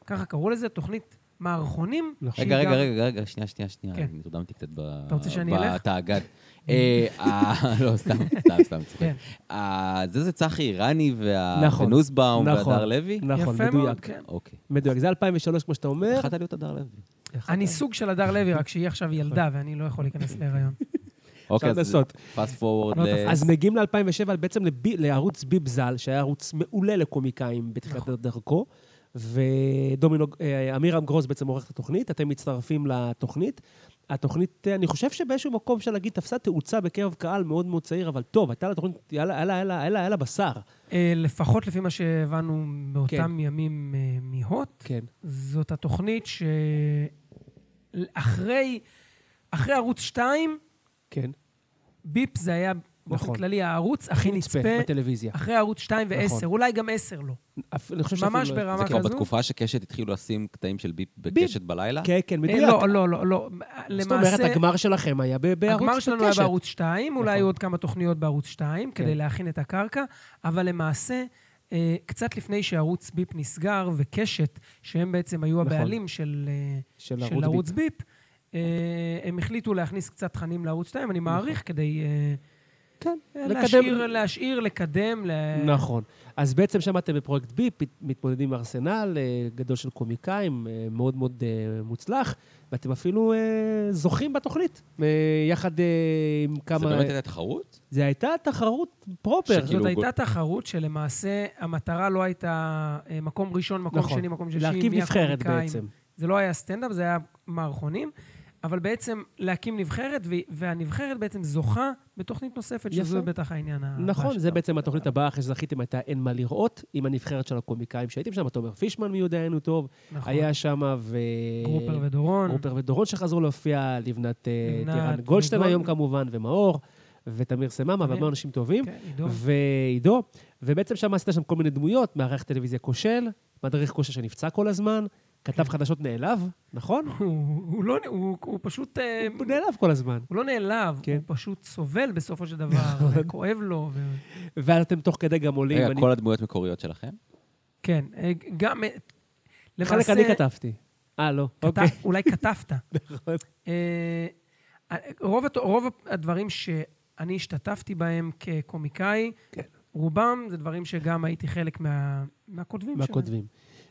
C: ככה קראו לזה, תוכנית מערכונים.
B: נכון.
C: שהיא
A: רגע, רגע,
C: גם-
A: רגע, רגע, שנייה, שנייה, שנייה.
C: כן.
A: אני נרדמתי קצת ב...
C: אתה רוצה שאני אלך?
A: בתאגד. אה, אה, לא, סתם, סתם, סתם, צוחק.
C: כן.
A: אה, זה זה צחי איראני וה-
B: נכון.
A: ונוסבאום
B: נכון.
A: והדר לוי?
B: נכון,
C: יפה מאוד,
B: מדויק.
C: כן.
A: אוקיי.
B: מדויק. זה 2003, כמו שאתה אומר.
A: יכלת להיות הדר לוי. אוקיי,
C: אני
B: נכון.
C: סוג של הדר לוי, רק שהיא עכשיו ילדה, ואני לא יכול להיכנס להיריון.
A: אוקיי, אז
B: לנסות.
A: פאסט פורוורד
C: לא,
A: ל...
B: אז מגיעים ל-2007 בעצם לבי, לערוץ ביב ז"ל, שהיה ערוץ מעולה לקומיקאים בתחילת
C: נכון.
B: דרכו, ודומינו, אה, עמירם גרוס בעצם עורך את התוכנית, אתם מצטרפים לתוכנית. התוכנית, אה, אני חושב שבאיזשהו מקום, אפשר להגיד, תפסה תאוצה בקרב קהל מאוד מאוד צעיר, אבל טוב, הייתה לה תוכנית, היה לה- היה לה- היה לה- היה לה- היה לה בשר.
C: אה, לפחות לפי מה שהבנו באותם ימים אה, מהוט,
B: כן.
C: זאת התוכנית שאחרי אחרי ערוץ 2,
B: כן.
C: ביפ זה היה באופן
B: נכון.
C: כללי הערוץ הכי נצפה,
B: בטלוויזיה.
C: אחרי ערוץ 2 ו-10,
B: נכון.
C: אולי גם 10 לא.
B: אפ- אני חושב
C: ממש
B: שאפילו לא-
C: ברמה
A: זה כבר
C: כזו.
A: בתקופה שקשת התחילו לשים קטעים של ביפ בקשת בלילה?
B: כן, כן,
C: אה,
B: מדויק.
C: לא, לא, לא, לא.
B: זאת אומרת,
C: למעשה,
B: הגמר שלכם היה ב- בערוץ
C: הגמר שלנו היה
B: בקשת.
C: בערוץ 2, אולי
B: נכון.
C: היו עוד כמה תוכניות בערוץ 2, כדי
B: כן.
C: להכין את הקרקע, אבל למעשה... אה, קצת לפני שערוץ ביפ נסגר, וקשת, שהם בעצם היו
B: נכון.
C: הבעלים של, אה,
B: של
C: של
B: ערוץ ביב.
C: ערוץ
B: נכון.
C: ביפ. אה, הם החליטו להכניס קצת תכנים לערוץ 2, אני מעריך, כדי אה,
B: כן,
C: להשאיר, להשאיר, לקדם, ל...
B: נכון. אז בעצם שם אתם בפרויקט B, פת- מתמודדים עם ארסנל אה, גדול של קומיקאים, אה, מאוד מאוד אה, מוצלח, ואתם אפילו אה, זוכים בתוכנית, אה, יחד אה, עם כמה...
A: זה באמת הייתה תחרות?
B: זה הייתה תחרות פרופר.
A: שכאילו-
C: זאת
A: גו-
C: הייתה תחרות שלמעשה המטרה לא הייתה אה, מקום ראשון, מקום
B: נכון.
C: שני, מקום שלישי,
B: להרכיב
C: מי
B: נבחרת
C: הקומיקאים.
B: בעצם.
C: זה לא היה סטנדאפ, זה היה מערכונים, אבל בעצם להקים נבחרת, ו- והנבחרת בעצם זוכה בתוכנית נוספת, שזה
B: יפה.
C: בטח העניין ה...
B: נכון, זה בעצם התוכנית הבאה אחרי שזכיתם הייתה אין מה לראות, עם הנבחרת של הקומיקאים שהייתם שם, תומר פישמן מי יודע היינו טוב,
C: נכון.
B: היה שם ו...
C: גרופר ודורון.
B: גרופר ודורון שחזרו להופיע, לבנת אה,
C: נכון. לבנת,
B: טירן גולדשטיין
C: וגול-
B: היום כמובן, ומאור, ותמיר סממה, והמון אנשים טובים,
C: כן, עידו.
B: ועידו, ובעצם שם עשית שם כל מיני דמויות, מארח טלוויזיה כושל, מדריך כושר שנפצע כל הזמן,
C: כן.
B: כתב חדשות נעלב, נכון?
C: הוא הוא לא... הוא הוא פשוט... אה,
B: הוא נעלב כל הזמן.
C: הוא לא נעלב,
B: כן. נכון.
C: הוא פשוט סובל בסופו של דבר, וכואב לו. ו...
B: ואז אתם תוך כדי גם עולים.
A: רגע,
B: אני-
A: כל הדמויות מקוריות שלכם?
C: כן, אה, גם... אה,
B: חלק
C: למעשה...
B: אני כתבתי. אה, לא.
C: כת-
B: אוקיי.
C: אולי כתבת.
B: נכון.
C: אה, רוב, הת- רוב הדברים שאני השתתפתי בהם כקומיקאי,
B: כן.
C: רובם זה דברים שגם הייתי חלק מה, מהכותבים שלהם.
B: מהכותבים.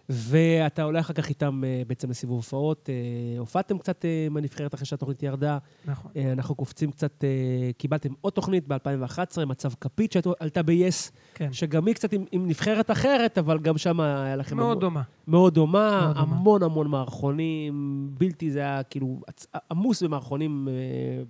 B: ואתה עולה אחר כך איתם אה, בעצם לסיבוב הופעות. אה, הופעתם קצת אה, עם הנבחרת אחרי שהתוכנית ירדה.
C: נכון.
B: אה, אנחנו קופצים קצת, אה, קיבלתם עוד תוכנית ב-2011, מצב כפית שעלתה ב-yes,
C: כן.
B: שגם היא קצת עם, עם נבחרת אחרת, אבל גם שם היה לכם...
C: מאוד
B: המון-
C: דומה.
B: מאוד דומה,
C: מאוד דומה.
B: המון המון מערכונים, בלתי, זה היה כאילו עצ- עמוס במערכונים אה,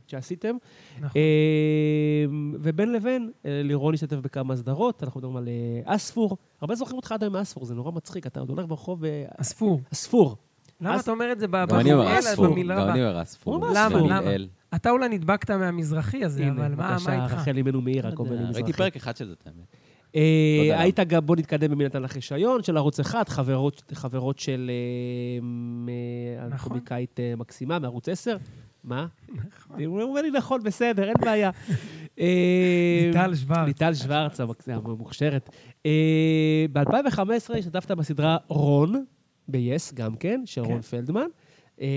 B: שעשיתם.
C: נכון.
B: אה, ובין לבין, אה, לירון השתתף בכמה סדרות, אנחנו מדברים על אה, אספור. הרבה זוכרים אותך עד היום מאספור, זה נורא מצחיק, אתה עוד הולך ברחוב אה,
C: אספור.
B: ואספור.
C: למה
B: אס-
C: אתה אומר את זה ב-
A: גם אני אומר
C: במילה-
A: אספור,
C: במילה
A: גם
C: הבאה?
A: אני אומר אספור.
B: הוא
C: אמר אספור.
A: במיל
C: למה?
A: אל.
C: אתה אולי נדבקת מהמזרחי הזה, אבל מה מה
B: בבקשה,
C: איתך?
B: רחל אימנו מאיר, הכל במילים
A: ראיתי
B: מזרחים.
A: פרק אחד של זה, את האמת.
B: אה,
A: לא יודע
B: היית גם, בוא נתקדם במי נתן לך רישיון, של ערוץ אחד, חברות- חברות של אה, מ- אה,
C: נכון.
B: קומיקאית אה, מקסימה מערוץ 10. מה? הוא אומר לי נכון, בסדר, אין בעיה. אה,
C: ליטל שוורץ.
B: ליטל שוורץ המק- המוכשרת. אה, ב-2015 השתתפת בסדרה רון, ב-yes גם כן, של
C: כן.
B: רון פלדמן. אה,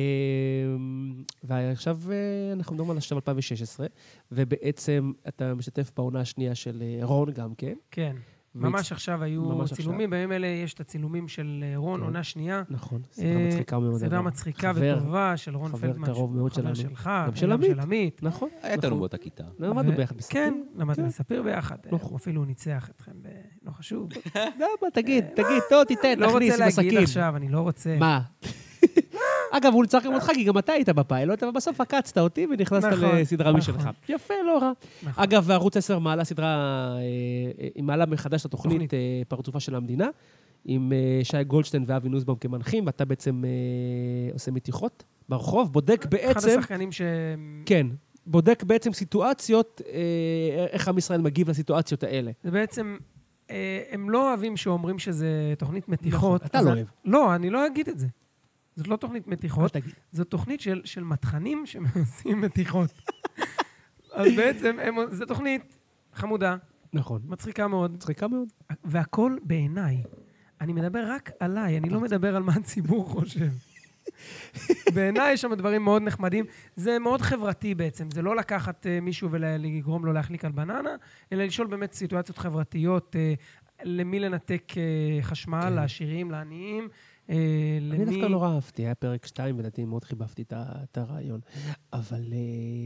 B: ועכשיו אה, אנחנו מדברים על עכשיו 2016, ובעצם אתה משתתף בעונה השנייה של אה, רון גם כן.
C: כן. ממש
B: מצ-
C: עכשיו היו
B: ממש
C: צילומים, בימים אלה יש את הצילומים של אה, רון,
B: כן.
C: עונה שנייה.
B: נכון, סדרה
C: אה,
B: מצחיקה מאוד.
C: סדרה
B: אבל.
C: מצחיקה
B: חבר,
C: וטובה של רון
B: חבר
C: פלדמן.
B: קרוב
C: שהוא
B: מאוד
C: חבר
B: שלנו.
C: שלך,
B: גם של
C: וגם
B: עמית.
C: של עמית.
B: נכון.
A: היה
B: נכון.
A: איתנו באותה כיתה.
B: למדנו
C: ו-
B: ביחד בסרטים.
C: כן, למדנו
B: כן.
C: בספיר ביחד.
B: נכון.
C: הוא אפילו ניצח אתכם, ב- לא חשוב.
B: למה? תגיד, תגיד, טוב, תיתן,
C: אה, לא
B: כן, תכניס
C: רוצה
B: עם
C: להגיד
B: הסכין.
C: עכשיו, אני לא רוצה.
B: מה? אגב, הוא ניצח גם אותך, כי גם אתה היית בפיילוט, אבל בסוף עקצת אותי ונכנסת
C: נכון,
B: לסדרה
C: נכון.
B: משלך. יפה, לא רע.
C: נכון.
B: אגב, ערוץ 10 מעלה סדרה, אה, אה, היא מעלה מחדש את התוכנית
C: תוכנית.
B: אה, פרצופה של המדינה, עם אה, שי גולדשטיין ואבי נוסבאום כמנחים, ואתה בעצם אה, עושה מתיחות ברחוב, בודק
C: אחד
B: בעצם...
C: השחקנים ש...
B: כן, בודק בעצם סיטואציות, אה, איך עם ישראל מגיב לסיטואציות האלה.
C: זה בעצם... אה, הם לא אוהבים שאומרים שזה תוכנית מתיחות.
B: אתה
C: אז
B: לא
C: אני-
B: אוהב.
C: לא, אני לא אגיד את זה. זאת לא תוכנית מתיחות,
B: אל תגיד.
C: זו תוכנית של, של מתחנים שעושים מתיחות. אז בעצם, הם- זו תוכנית חמודה,
B: נכון.
C: מצחיקה מאוד,
B: מצחיקה מאוד.
C: והכל בעיניי. אני מדבר רק עליי, אני לא מדבר על מה הציבור חושב. בעיניי יש שם דברים מאוד נחמדים. זה מאוד חברתי בעצם, זה לא לקחת אה, מישהו ולגרום לו להחליק על בננה, אלא לשאול באמת סיטואציות חברתיות, אה, למי לנתק אה, חשמל,
B: כן.
C: לעשירים, לעניים, אה,
B: אני
C: למי...
B: דווקא נורא אהבתי, היה פרק 2, ולדעתי מאוד חיבבתי את ה- את הרעיון. אבל אה,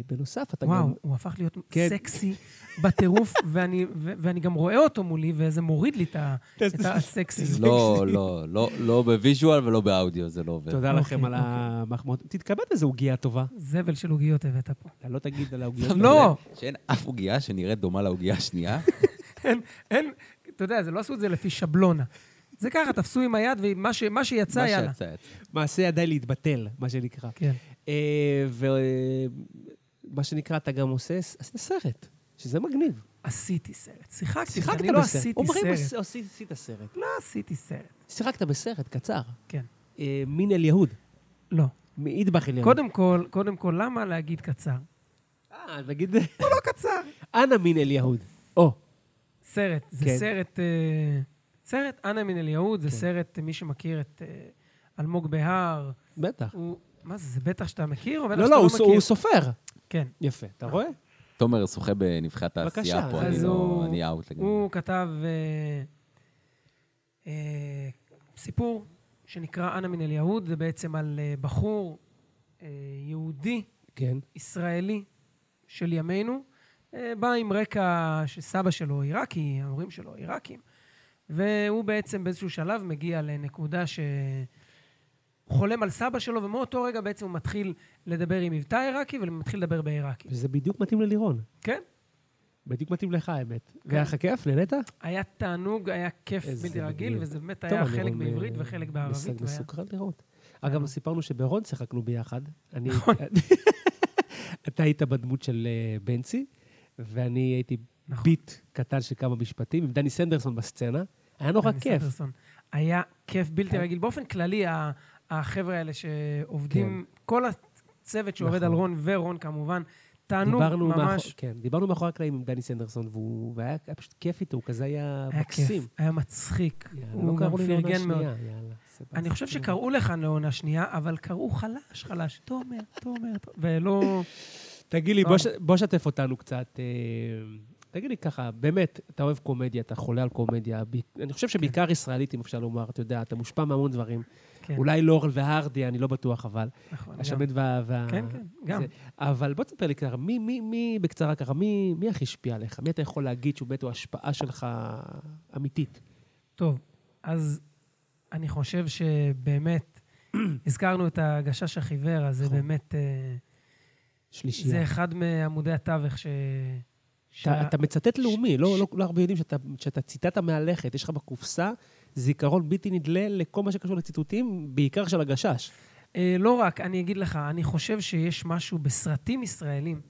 B: בנוסף, אתה
C: וואו,
B: גם...
C: הוא הפך להיות
B: כן.
C: סקסי בטירוף, ואני, ו- ואני גם רואה אותו מולי, וזה מוריד לי את, ה- את הסקסיות.
A: לא, לא, לא, לא בוויז'ואל ולא באודיו, זה לא עובד.
B: תודה
C: אוקיי,
B: לכם על
C: אוקיי.
B: המחמאות. תתכבד איזו עוגייה טובה.
C: זבל של עוגיות הבאת פה.
B: אתה לא תגיד על העוגיות.
A: שמת
C: לא.
A: לב שאין אף עוגייה שנראית דומה לעוגייה השנייה.
C: אין, אין, אתה יודע, זה לא עשו את זה לפי שבלונה. זה ככה, תפסו עם היד, ומה ש, מה שיצא,
A: מה
C: יאללה.
A: שיצא, יצא.
B: מעשה ידיי להתבטל, מה שנקרא.
C: כן.
B: ומה שנקרא, אתה גם עושה, עשית סרט, שזה מגניב.
C: עשיתי סרט. שיחקתי,
B: שיחקת
C: אני
B: בסרט.
C: לא עשיתי
B: אומרים,
C: סרט.
B: עשית- עשית סרט.
C: לא עשיתי סרט,
B: שיחקת בסרט, קצר.
C: כן.
B: אה, מין אל יהוד.
C: לא.
B: מאידבח אל יהוד.
C: קודם כל, קודם כל, למה להגיד קצר?
B: אה, נגיד...
C: הוא לא קצר.
B: אנא מין אל יהוד. או,
C: סרט, זה
B: כן.
C: סרט... אה, סרט אנה מן אליהוד, זה סרט, מי שמכיר את אה, אלמוג בהר,
B: בטח.
C: הוא... מה זה, זה בטח שאתה מכיר, או בטח
B: לא,
C: שאתה
B: לא,
C: לא
B: הוא
C: מכיר?
B: הוא סופר.
C: כן.
B: יפה, אתה רואה?
A: תומר שוחה בנבחרת העשייה
B: בבקשה.
A: פה,
C: אז
A: אני לא...
C: הוא-
A: אני אאוט לגמרי.
C: הוא כתב אה, אה, סיפור שנקרא אנה מן אליהוד, זה בעצם על אה, בחור אה, יהודי
B: כן.
C: ישראלי של ימינו, אה, בא עם רקע שסבא שלו עיראקי, ההורים שלו עיראקים, והוא בעצם באיזשהו שלב מגיע לנקודה ש... חולם על סבא שלו, ומאותו רגע בעצם הוא מתחיל לדבר עם מבטא עיראקי ומתחיל לדבר בעיראקי.
B: וזה בדיוק מתאים ללירון.
C: כן,
B: בדיוק מתאים לך, האמת. והיה לך כיף? נהנית?
C: היה תענוג, היה כיף
B: איזה
C: בלתי רגיל,
B: מגניב.
C: וזה באמת
B: טוב,
C: היה
B: אני
C: חלק
B: גם,
C: בעברית
B: אה,
C: וחלק
B: מסג-
C: בערבית. והיה- אה.
B: מסוקרן לראות. אגב, סיפרנו שבהרון שיחקנו ביחד. אני-
C: נכון.
B: אתה היית בדמות של אה, בנצי, ואני הייתי
C: נכון.
B: ביט קטן של כמה משפטים, עם דני סנדרסון בסצנה. היה נורא
C: דני
B: כיף.
C: סנדרסון. היה כיף בלתי
B: כן.
C: רגיל. באופן כללי, ה- החבר'ה האלה שעובדים, כל הצוות שעובד
B: כן. נכון.
C: על רון ורון כמובן, תענוג
B: דיברנו מאחור-
C: ממש.
B: כן, דיברנו מאחורי הקלעים עם דני סנדרסון, והוא- והיה היה פשוט כיף איתו, הוא כזה היה
C: היה
B: מקסים.
C: כיף, היה מצחיק.
B: יאללה, לא
C: הוא גם
B: קראו לי לעונה
C: פרגן מאוד.
B: שנייה, יאללה, סבבה.
C: אני חושב שקראו לך לעונה שנייה, אבל קראו חלש, חלש. תומר, תומר, תומר, ולא...
B: תגיד לי,
C: לא.
B: בוא ש- בוא שתף אותנו קצת. אה, תגיד לי ככה, באמת, אתה אוהב קומדיה, אתה חולה על קומדיה. ב- אני חושב שבעיקר ישראלית, אם אפשר לומר, אתה יודע, אתה מושפע מהמון דברים.
C: כן,
B: אולי לורל והרדי, אני לא בטוח, אבל.
C: נכון. גם.
B: השמד וה... וה-
C: כן, כן, גם.
B: זה. אבל בוא תספר לי ככה, מי, מי, מי, בקצרה ככה, מי, מי הכי השפיע עליך? מי אתה יכול להגיד שהוא באמת הוא ההשפעה שלך אמיתית?
C: טוב, אז אני חושב שבאמת, הזכרנו את הגשש החיוור, אז זה
B: נכון.
C: באמת, אה,
B: שלישייה.
C: זה אחד מעמודי התווך ש...
B: אתה,
C: שה-
B: אתה מצטט לאומי, לא, לא, לא הרבה יודעים שאתה, שאתה ציטטת מהלכת, יש לך בקופסה זיכרון בלתי נדלה לכל מה שקשור לציטוטים, בעיקר של הגשש.
C: אה, לא רק, אני אגיד לך, אני חושב שיש משהו בסרטים ישראלים,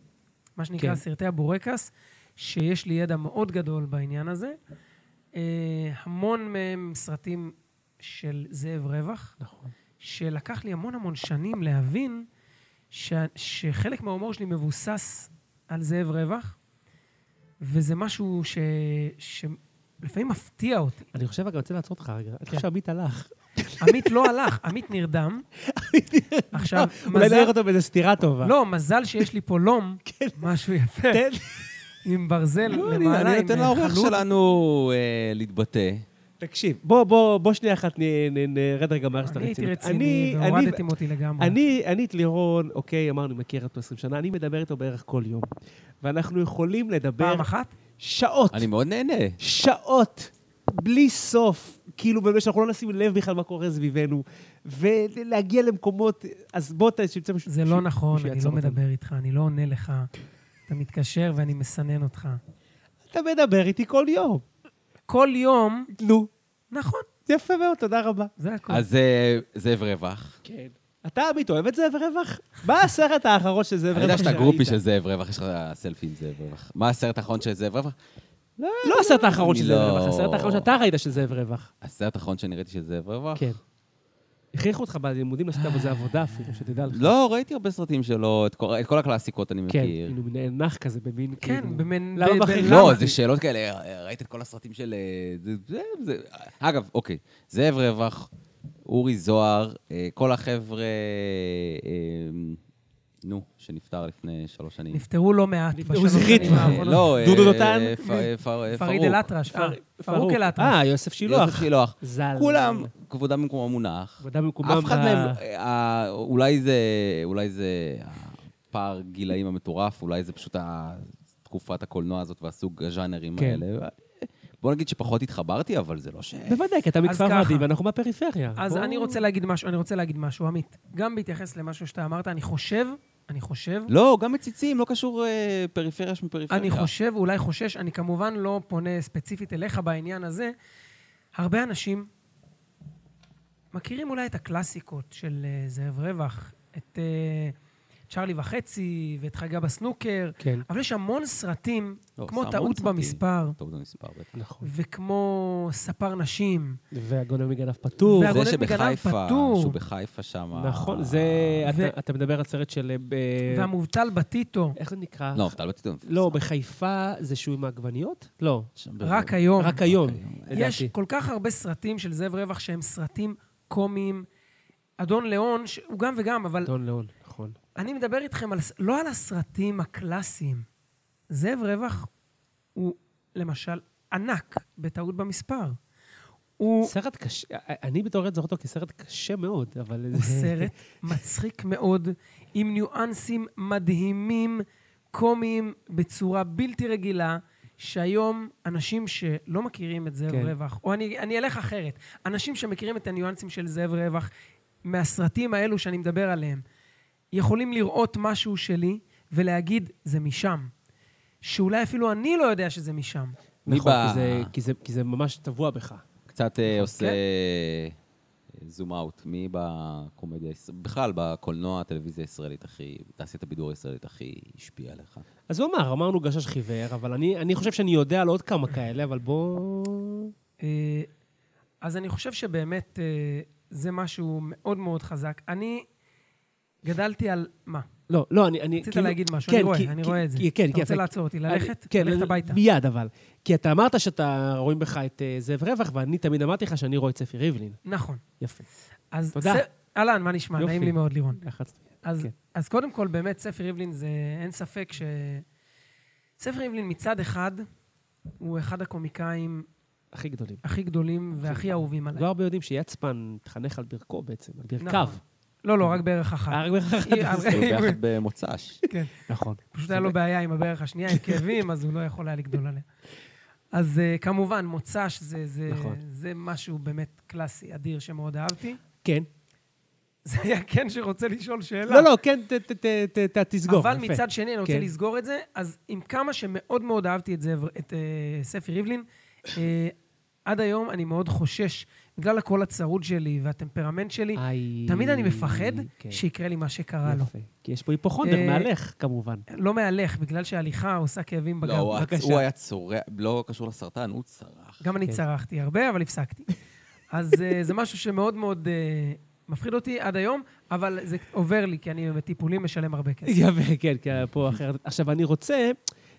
C: מה שנקרא
B: כן.
C: סרטי הבורקס, שיש לי ידע מאוד גדול בעניין הזה. אה, המון מהם סרטים של זאב רווח.
B: נכון.
C: שלקח לי המון המון שנים להבין ש, שחלק מההומור שלי מבוסס על זאב רווח, וזה משהו ש, שלפעמים מפתיע אותי.
B: אני חושב, אגב, אני רוצה לעצור אותך רגע. אני
C: כן.
B: חושב שעמית הלך.
C: עמית לא הלך, עמית נרדם. עכשיו,
B: אה, אולי לא
C: מזל...
B: נעיר אותו באיזה סטירה טובה. כן,
C: לא, מזל שיש לי פה לום, משהו יפה,
B: תן.
C: עם ברזל
A: לא, אני-
C: למעלה,
A: אני
C: עם
A: נותן לאורח
C: חלוד.
A: שלנו אה, להתבטא.
B: תקשיב, בוא, בוא, בוא שנייה אחת נ- נ- נרד רגע מהרשת
C: אני הייתי
B: הרצינית.
C: רציני,
B: אני-
C: והורדתם אותי לגמרי.
B: אני, אני את לירון, אוקיי, אמרנו, מכיר אותו 20 שנה, אני מדבר איתו בערך כל יום. ואנחנו יכולים לדבר
C: פעם אחת?
B: שעות.
A: אני מאוד נהנה.
B: שעות, בלי סוף, כאילו באמת שאנחנו לא נשים לב בכלל מה קורה סביבנו, ולהגיע למקומות, אז בוא ת... שימצא מישהו...
C: זה
B: מישהו-
C: לא נכון,
B: מישהו
C: אני
B: יעצור
C: לא
B: אותנו.
C: מדבר איתך, אני לא עונה לך. אתה מתקשר ואני מסנן אותך.
B: אתה מדבר איתי כל יום.
C: כל יום,
B: נו,
C: נכון,
B: יפה מאוד, תודה רבה.
C: זה הכול.
A: אז
B: אוקיי.
A: אה, זאב רווח.
B: כן. אתה, עמית, אוהב את זאב רווח? מה הסרט האחרון של זאב רווח
A: אני יודע שאתה
B: שראית?
A: גרופי של זאב רווח, יש לך סלפי עם זאב רווח. מה הסרט האחרון של זאב רווח?
B: לא הסרט האחרון של
A: אני
B: זאב
A: לא-
B: רווח, הסרט האחרון שאתה ראית של זאב רווח.
A: הסרט האחרון שאני ראיתי של זאב רווח?
B: כן. הכריחו אותך בלימודים לעשות עבודה עבודה אפילו, שתדע לך.
A: לא, ראיתי הרבה סרטים שלו, את כל- את כל הקלאסיקות אני
B: כן,
A: מכיר.
B: כאילו מין נח כזה, במין
C: כן,
B: כאילו-
C: במין-
B: למה
C: ב- ב-
B: בחיים?
A: לא,
C: למה?
A: זה שאלות כאלה, "אה, ראית את כל הסרטים של... אה, זה, זה, זה... אגב, אוקיי, זאב רווח, אורי זוהר, אה, כל החבר'ה, אה, נו, שנפטר לפני שלוש שנים.
C: נפטרו לא מעט
B: נפטרו
C: בשלוש
B: זכרית.
C: שנים
A: אה,
C: האחרונות.
A: לא, אה,
B: נכון. דודו דותן?
A: אה, פ- אה, פ- אה,
C: פריד
A: פרוק.
C: אל-אטרש, אה, פרוק אל-אטרש.
B: אה, יוסף שילוח.
A: יוסף שילוח.
B: ז"ל.
A: כולם, כבודם במקום המונח.
B: כבודם במקומם
A: אף אחד
B: ב-
A: מהם, אה, אולי זה, אולי זה הפער גילאים המטורף, אולי זה פשוט ה- תקופת הקולנוע הזאת והסוג הז'אנרים
B: כן.
A: האלה. בוא נגיד שפחות התחברתי, אבל זה לא ש...
B: בוודאי, כי אתה מכפר
C: ככה.
B: ורדי ואנחנו מהפריפריה.
C: אז
B: בוא-
C: אני רוצה להגיד משהו, אני רוצה להגיד משהו, עמית. גם בהתייחס למשהו שאתה אמרת, אני חושב, אני חושב,
A: לא, גם מציצים, לא קשור אה, פריפריה שמפריפריה.
C: אני חושב, אולי חושש, אני כמובן לא פונה ספציפית אליך בעניין הזה. הרבה אנשים מכירים אולי את הקלאסיקות של אה, זאב רווח, את אה, צ'ארלי וחצי ואת חגה בסנוקר,
B: כן.
C: אבל יש המון סרטים,
A: לא, זה
C: כמו
A: המון
C: טעות
A: סרטים.
C: במספר,
A: טוב, זה מספר בטח.
B: נכון.
C: וכמו ספר נשים.
B: והגונב מגנב פטור.
C: והגונב-
A: זה
C: מגנב
A: שבחיפה,
C: פטור.
A: שהוא בחיפה שם...
B: נכון, זה... אתה- אתה מדבר על סרט של... אה, ב-
C: והמובטל בטיטו,
B: איך זה נקרא?
A: לא, אתה לא תטעון.
B: לא, בחיפה זה שהוא עם העגבניות? לא.
A: שם ב-
C: רק היום.
B: רק היום,
C: יש
B: לדעתי.
C: כל כך הרבה סרטים של זאב רווח שהם סרטים קומיים. אדון ליאון, ש- הוא גם וגם, אבל
B: דון ליאון, נכון.
C: אני מדבר איתכם על, ס- לא על הסרטים הקלאסיים. זאב רווח הוא למשל ענק בטעות במספר. הוא
B: סרט קשה, אה, אני בתור ילד זוכר אותו כסרט קשה מאוד, אבל...
C: הוא סרט מצחיק מאוד, עם ניואנסים מדהימים, קומיים, בצורה בלתי רגילה, שהיום אנשים שלא מכירים את זאב
B: כן.
C: כן. רווח, או אני, אני אלך אחרת, אנשים שמכירים את הניואנסים של זאב רווח, מהסרטים האלו שאני מדבר עליהם, יכולים לראות משהו שלי ולהגיד, זה משם. שאולי אפילו אני לא יודע שזה משם.
A: מי
B: נכון,
A: ב-
B: כי זה- כי זה- כי זה ממש טבוע בך.
A: קצת אה, עושה זום אאוט, מי בקומדיה, היש- בכלל בקולנוע, הטלוויזיה הישראלית הכי, תעשיית הבידור הישראלית הכי השפיעה עליך.
B: אז הוא אמר, אמרנו גשש חיוור, אבל אני אני חושב שאני יודע על עוד כמה כאלה, אבל בוא...
C: אה, אז אני חושב שבאמת אה, זה משהו מאוד מאוד חזק. אני גדלתי על... מה?
B: לא, לא, אני... אני-
C: רצית
B: כאילו-
C: להגיד משהו,
B: כן,
C: אני רואה,
B: כי-
C: אני
B: כי-
C: רואה את זה.
B: כי- כן,
C: אתה
B: כן.
C: רוצה לעצור אותי, ללכת?
B: כן,
C: ללכת הביתה.
B: מיד, אבל. כי אתה אמרת שאתה, רואים בך את אה, זאב רווח, ואני תמיד אמרתי לך שאני רואה את ספי ריבלין.
C: נכון.
B: יפה.
C: אז...
B: תודה.
C: ס- אהלן, מה נשמע?
B: יופי.
C: נעים לי מאוד, לירון.
B: לחצתי.
C: אז,
B: כן.
C: כן. אז קודם כל, באמת, ספר ריבלין זה... אין ספק ש... ספר ריבלין מצד אחד, הוא אחד הקומיקאים
B: הכי גדולים.
C: הכי גדולים והכי אהובים עליי.
B: לא הרבה יודעים שיצפן התחנך על ברכו בעצם, על ברכיו.
C: נכון. לא, לא, רק בערך אחת.
B: אה, רק ברכיו.
C: אה, אבל-
A: היינו כאילו, ביחד במוצ"ש.
C: כן.
B: נכון.
C: פשוט היה לו בעיה עם הברך השנייה, עם כאבים, אז הוא לא יכול היה לגדול עליה. אז אה, כמובן, מוצ"ש זה, זה,
B: נכון.
C: זה משהו באמת קלאסי, אדיר, שמאוד אהבתי.
B: כן.
C: זה היה כן שרוצה לשאול שאלה.
B: לא, לא, כן, ת- ת- ת- ת- ת- תסגור.
C: אבל
B: יפה.
C: מצד שני, אני רוצה
B: כן.
C: לסגור את זה, אז עם כמה שמאוד מאוד אהבתי את, זה, את אה, ספי ריבלין, אה, עד היום אני מאוד חושש, בגלל הקול הצרוד שלי והטמפרמנט שלי,
B: איי,
C: תמיד אני מפחד
B: כן.
C: שיקרה לי מה שקרה לו.
B: יפה. כי יש פה היפוכונדר
C: אה,
B: מהלך, כמובן.
C: לא מהלך, בגלל שההליכה עושה כאבים בגב.
A: לא, הוא
B: בבקשה.
A: הוא היה צורח, לא קשור לסרטן, הוא צרח.
C: גם אני
B: כן.
C: צרחתי הרבה, אבל הפסקתי. אז אה, זה משהו שמאוד מאוד אה, מפחיד אותי עד היום, אבל זה עובר לי, כי אני בטיפולים משלם הרבה כסף.
B: יפה, כן, כי פה אחרת. עכשיו, אני רוצה...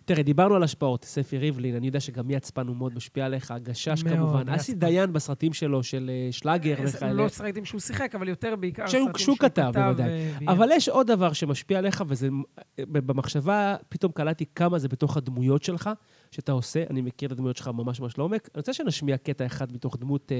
B: תראה, דיברנו על השפעות, ספי ריבלין, אני יודע שגם יצפן הוא מאוד משפיע עליך, הגשש
C: מאוד,
B: כמובן, אסי
C: יצפן.
B: דיין בסרטים שלו, של אה, שלאגר
C: אז
B: וכאלה.
C: לא סרטים שהוא שיחק, אבל יותר בעיקר
B: שהוא-
C: סרטים
B: שהוא כתב, בוודאי.
C: אה, ביים.
B: אבל יש עוד דבר שמשפיע עליך, וזה... אה, במחשבה פתאום קלטתי כמה זה בתוך הדמויות שלך, שאתה עושה. אני מכיר את הדמויות שלך ממש ממש לעומק. אני רוצה שנשמיע קטע אחד מתוך דמות, אה,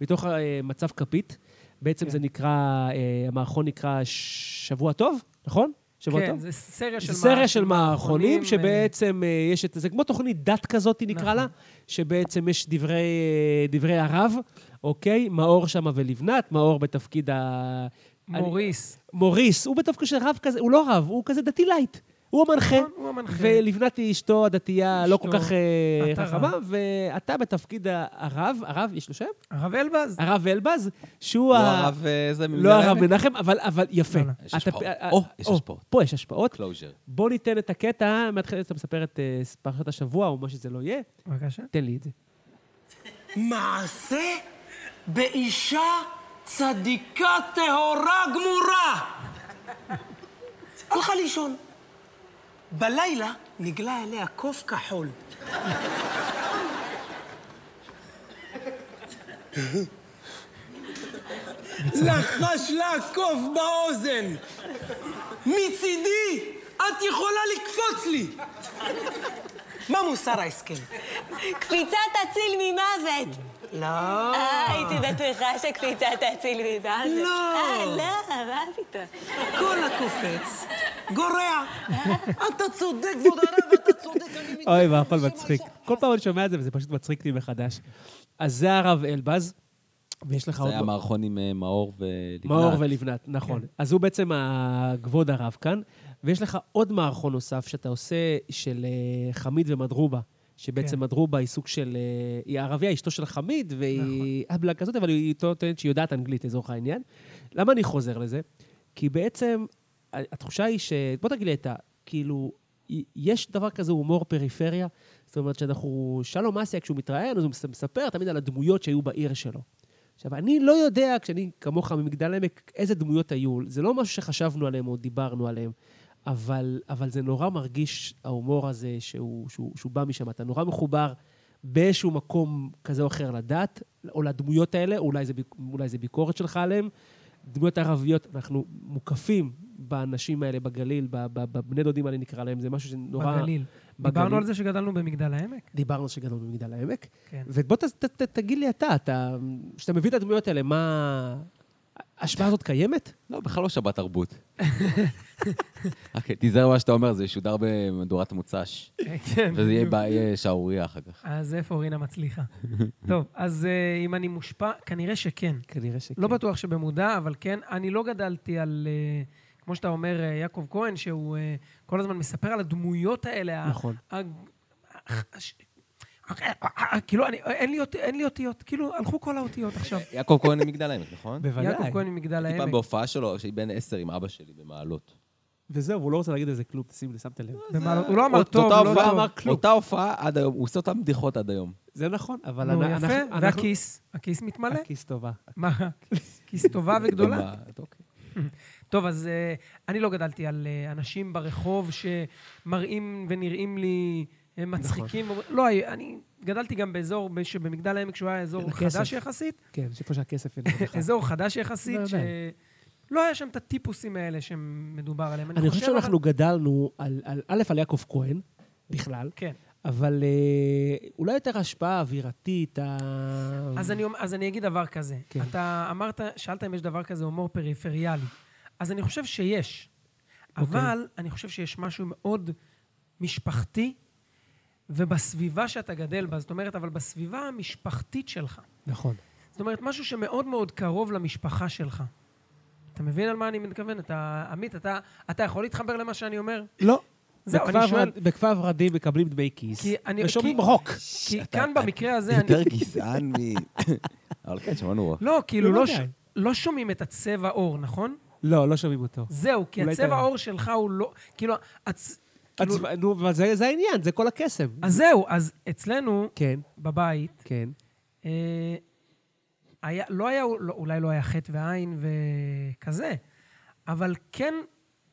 B: מתוך אה, מצב כפית. בעצם
C: כן.
B: זה נקרא, אה, המערכון נקרא שבוע טוב, נכון? שבוע
C: כן,
B: טוב?
C: זה סריה של
B: זה סריה
C: מערכ-
B: של מערכונים,
C: אה,
B: שבעצם אה, יש את זה, כמו תוכנית דת כזאת נקרא
C: נכון.
B: לה, שבעצם יש דברי, אה, דברי הרב, אוקיי? מאור שמה ולבנת, מאור בתפקיד ה...
C: מוריס.
B: אני- מוריס, הוא בתפקיד של רב כזה, הוא לא רב, הוא כזה דתי לייט. הוא המנחה.
C: נכון, הוא המנחה.
B: ולבנת היא אשתו הדתייה לא כל
C: אשתו,
B: כך אה,
C: אתה רב.
B: חכמה, ואתה בתפקיד ה- הרב, הרב, יש לו שם?
C: הרב אלבז.
B: הרב אלבז, שהוא
A: לא
B: ה-
A: הרב אה, זה
B: לא
A: ממגדל
B: הרב
A: העמק?
B: מנחם, אבל, אבל יפה.
C: לא, לא.
A: יש
B: אתה-
A: השפעות.
B: אה,
A: או,
B: אה,
A: יש
B: או,
A: השפעות.
B: פה יש השפעות.
A: קלוז'ר.
B: בוא ניתן את הקטע, מהתחילת אתה מספר את אה, פרשת השבוע, או מה שזה לא יהיה,
C: בבקשה.
B: תן לי את זה.
D: מעשה באישה צדיקה טהורה גמורה. הלכה לישון. בלילה נגלה אליה קוף כחול. לחש לה הקוף באוזן. מצידי, את יכולה לקפוץ לי. מה מוסר ההסכם?
E: קפיצה תציל ממוות.
D: לא.
E: אה, הייתי בטוחה שקפיצה תציל ממוות.
D: לא.
E: אה, לא, מה פתאום.
D: כל הקופץ גורע. אתה צודק, כבוד הרב, אתה צודק, אני מתנצל.
B: אוי ואבוי, מצחיק. כל פעם אני שומע את זה וזה פשוט מצחיק לי מחדש. אז זה הרב אלבז, ויש לך
A: זה
B: עוד...
A: היה מערכון עם אה, מאור ולבנת.
B: לא- מאור ולבנת, נכון. אז הוא בעצם הכבוד הרב כאן, ויש לך עוד מערכון נוסף שאתה עושה של אה, חמיד ומדרובה, שבעצם
C: כן.
B: מדרובה היא סוג של... אה, היא ערבייה, אשתו של חמיד, והיא אבלה כזאת, אבל היא טוענת שהיא יודעת אנגלית לצורך העניין. למה אני חוזר לזה? כי בעצם ה- התחושה היא ש... בוא תגיד לי אתה, כאילו, י- יש דבר כזה הומור פריפריה? זאת אומרת שאנחנו... שלום אסיה, כשהוא מתראיין, אז הוא מס- מספר תמיד על הדמויות שהיו בעיר שלו. עכשיו, אני לא יודע, כשאני כמוך ממגדל עמק, איזה דמויות היו. זה לא משהו שחשבנו עליהם או דיברנו עליהם, אבל, אבל זה נורא מרגיש, ההומור הזה שהוא, שהוא, שהוא בא משם. אתה נורא מחובר באיזשהו מקום כזה או אחר לדת, או לדמויות האלה, אולי זה, ביק- אולי זה ביקורת שלך עליהם. דמויות ערביות, אנחנו מוקפים באנשים האלה בגליל, ב- ב- בבני דודים האלה נקרא להם, זה משהו שנורא...
C: בגליל.
B: בגליל.
C: דיברנו על זה שגדלנו במגדל העמק?
B: דיברנו שגדלנו במגדל העמק.
C: כן.
B: ובוא ת, ת, ת, תגיד לי אתה, אתה, כשאתה מביא את הדמויות האלה, מה... ההשפעה הזאת קיימת?
A: לא, בכלל לא שבת תרבות. אוקיי, תיזהר מה שאתה אומר, זה ישודר במהדורת מוצ"ש.
C: כן.
A: וזה יהיה
C: בדיוק.
A: בעיה שערורייה אחר כך.
C: אז איפה רינה מצליחה? טוב, אז אה, אם אני מושפע, כנראה שכן.
B: כנראה שכן.
C: לא בטוח שבמודע, אבל כן, אני לא גדלתי על, אה, כמו שאתה אומר, אה, יעקב כהן, שהוא אה, כל הזמן מספר על הדמויות האלה. ה-
B: נכון.
C: ה- ה- הש- ה- ה- כאילו, אני- אין לי אות- אין לי אותיות, כאילו, הלכו כל האותיות עכשיו.
A: יעקב כהן ממגדל העמק, נכון?
B: בוודאי.
C: יעקב כהן ממגדל
A: הייתי פעם
C: העמק.
A: בהופעה שלו, שהיא בן עשר עם אבא שלי במעלות.
B: וזהו, הוא לא רוצה להגיד על זה כלום, תשימו, שמת לב.
C: במעלות- הוא לא אמר
A: אותה
C: טוב, לא
A: הופעה-
C: טוב.
B: אמר כלום.
A: אותה הופעה עד היום, הוא עושה אותן בדיחות עד היום.
B: זה נכון, אבל
C: נו,
B: אנ-
C: יפה, והכיס, הכיס מתמלא.
B: הכיס אה. טובה.
C: מה, כיס טובה וגדולה?
A: ומה- אוקיי.
C: טוב, אז אה, אני לא גדלתי על אה, אנשים ברחוב שמראים ונראים לי אה,
B: נכון.
C: מצחיקים. לא, אה, אני גדלתי גם באזור, ב- שבמגדל העמק, שהוא היה אזור
B: הכסף. נכון. לא
C: חדש יחסית.
B: כן, שפה שהכסף אין לך.
C: אזור חדש יחסית,
B: בוודאי.
C: שלא היה שם את הטיפוסים האלה שמדובר עליהם.
B: אני חושב
C: אבל-
B: שאנחנו גדלנו על, על- א', על יעקב כהן, בכלל,
C: כן.
B: אבל אה, אולי יותר ההשפעה האווירתית, ה...
C: אז אני, אומר- אז אני אגיד דבר כזה.
B: כן.
C: כן. אתה אמרת, שאלת אם יש דבר כזה הומור פריפריאלי. אז אני חושב שיש. אבל אני חושב שיש משהו מאוד משפחתי, ובסביבה שאתה גדל בה. זאת אומרת, אבל בסביבה המשפחתית שלך.
B: נכון.
C: זאת אומרת, משהו שמאוד מאוד קרוב למשפחה שלך. אתה מבין על מה אני מתכוון? אתה, עמית, אתה, אתה יכול להתחבר למה שאני אומר?
B: לא.
C: זהו, אני
B: בכפר
C: שואל-
B: ור- בכפר ורדים מקבלים דמי כיס,
C: כי אני-
B: ושומעים
C: כי-
B: רוק.
C: כי כאן במקרה הזה, אני...
A: יותר גזען מ... אבל כן, שמענו רוח.
C: לא, כאילו, לא,
B: לא
C: ש...
B: די.
C: לא שומעים את הצבע עור, נכון?
B: לא, לא שומעים אותו.
C: זהו, כי
B: אולי
C: הצבע
B: אתה-
C: העור שלך הוא לא... כאילו, הצ... כאילו...
B: הצבע- נו, אבל זה זה העניין, זה כל הקסם.
C: אז זהו, אז אצלנו,
B: כן,
C: בבית,
B: כן.
C: אה, היה, לא היה, לא, אולי לא היה חטא ועין וכזה, אבל כן,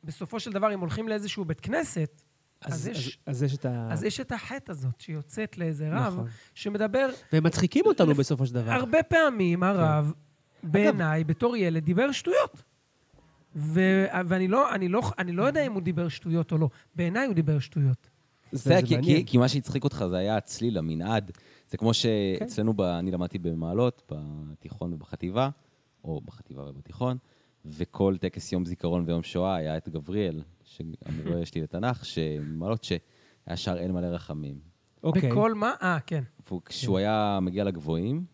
C: בסופו של דבר, אם הולכים לאיזשהו בית כנסת, אז, אז, יש,
B: אז יש את ה...
C: אז, יש את החטא הזאת שיוצאת לאיזה רב,
B: נכון.
C: שמדבר
B: והם מצחיקים אותנו בסופו של דבר.
C: הרבה פעמים,
B: כן.
C: הרב, בעיניי, בתור ילד, דיבר שטויות. ו- ואני לא, אני, לא, אני לא יודע אם הוא דיבר שטויות או לא. בעיניי הוא דיבר שטויות.
A: זה היה כי, כי, כי מה שהצחיק אותך זה היה הצליל, המנעד. זה כמו שאצלנו, ב, אני למדתי במעלות, בתיכון ובחטיבה, או בחטיבה ובתיכון, וכל טקס יום זיכרון ויום שואה היה את גבריאל, שהמורה שלי לתנ"ך, שמעלות שהיה שר אין מלא רחמים.
B: אוקיי.
C: בכל מה... אה, כן.
A: וכשהוא היה מגיע לגבוהים,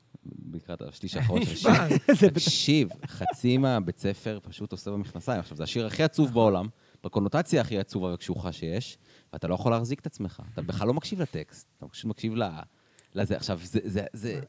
A: לקראת השליש האחרון של השיר,
C: נשבע.
A: תקשיב, חצי מהבית ספר פשוט עושה במכנסיים. עכשיו, זה השיר הכי
B: נכון.
A: עצוב בעולם, בקונוטציה הכי עצובה וקשוחה שיש, ואתה לא יכול להחזיק את עצמך. אתה בכלל לא מקשיב לטקסט, אתה פשוט מקשיב ל... לזה. עכשיו, זה... זה, זה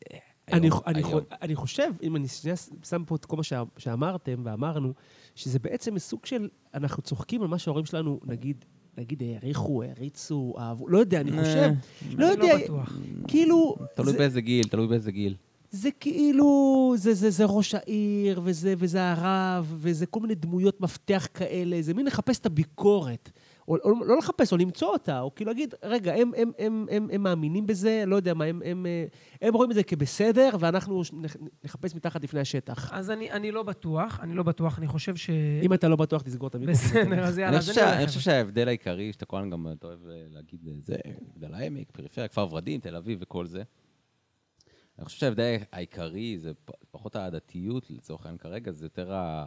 B: אני,
A: היום,
B: אני,
A: היום.
B: חו- אני חושב, אם אני שנייה ש- שם פה את כל מה ש- שאמרתם ואמרנו, שזה בעצם סוג של, אנחנו צוחקים על מה שההורים שלנו, נגיד, נגיד העריכו, העריצו, אהבו, לא יודע, אני חושב, לא
C: אה, אני
B: יודע,
C: לא בטוח.
B: כאילו,
A: תלוי
B: זה-
A: באיזה גיל, תלוי באיזה גיל.
B: זה כאילו, זה, זה, זה ראש העיר, וזה, וזה הרב, וזה כל מיני דמויות מפתח כאלה, זה מין לחפש את הביקורת. או, או לא לחפש, או למצוא אותה, או כאילו להגיד, רגע, הם, הם, הם, הם, הם מאמינים בזה, לא יודע מה, הם, הם, אה, הם רואים את זה כבסדר, ואנחנו ש- נח- נחפש מתחת לפני השטח.
C: אז אני, אני לא בטוח, אני לא בטוח, אני חושב ש...
B: אם אתה לא בטוח, תסגור את המיקרופון.
C: בסדר, אז יאללה,
A: אני
C: אז
A: חושב
C: אני
A: שה-
C: הולך.
A: אני חושב שההבדל העיקרי, שאתה כל הזמן גם אתה אוהב אה, להגיד אה, זה, מגדל העמק, פריפריה, כפר ורדים, תל אביב וכל זה. אני חושב שההבדל העיקרי זה פ- פחות העדתיות לצורך העניין כרגע, זה יותר ה...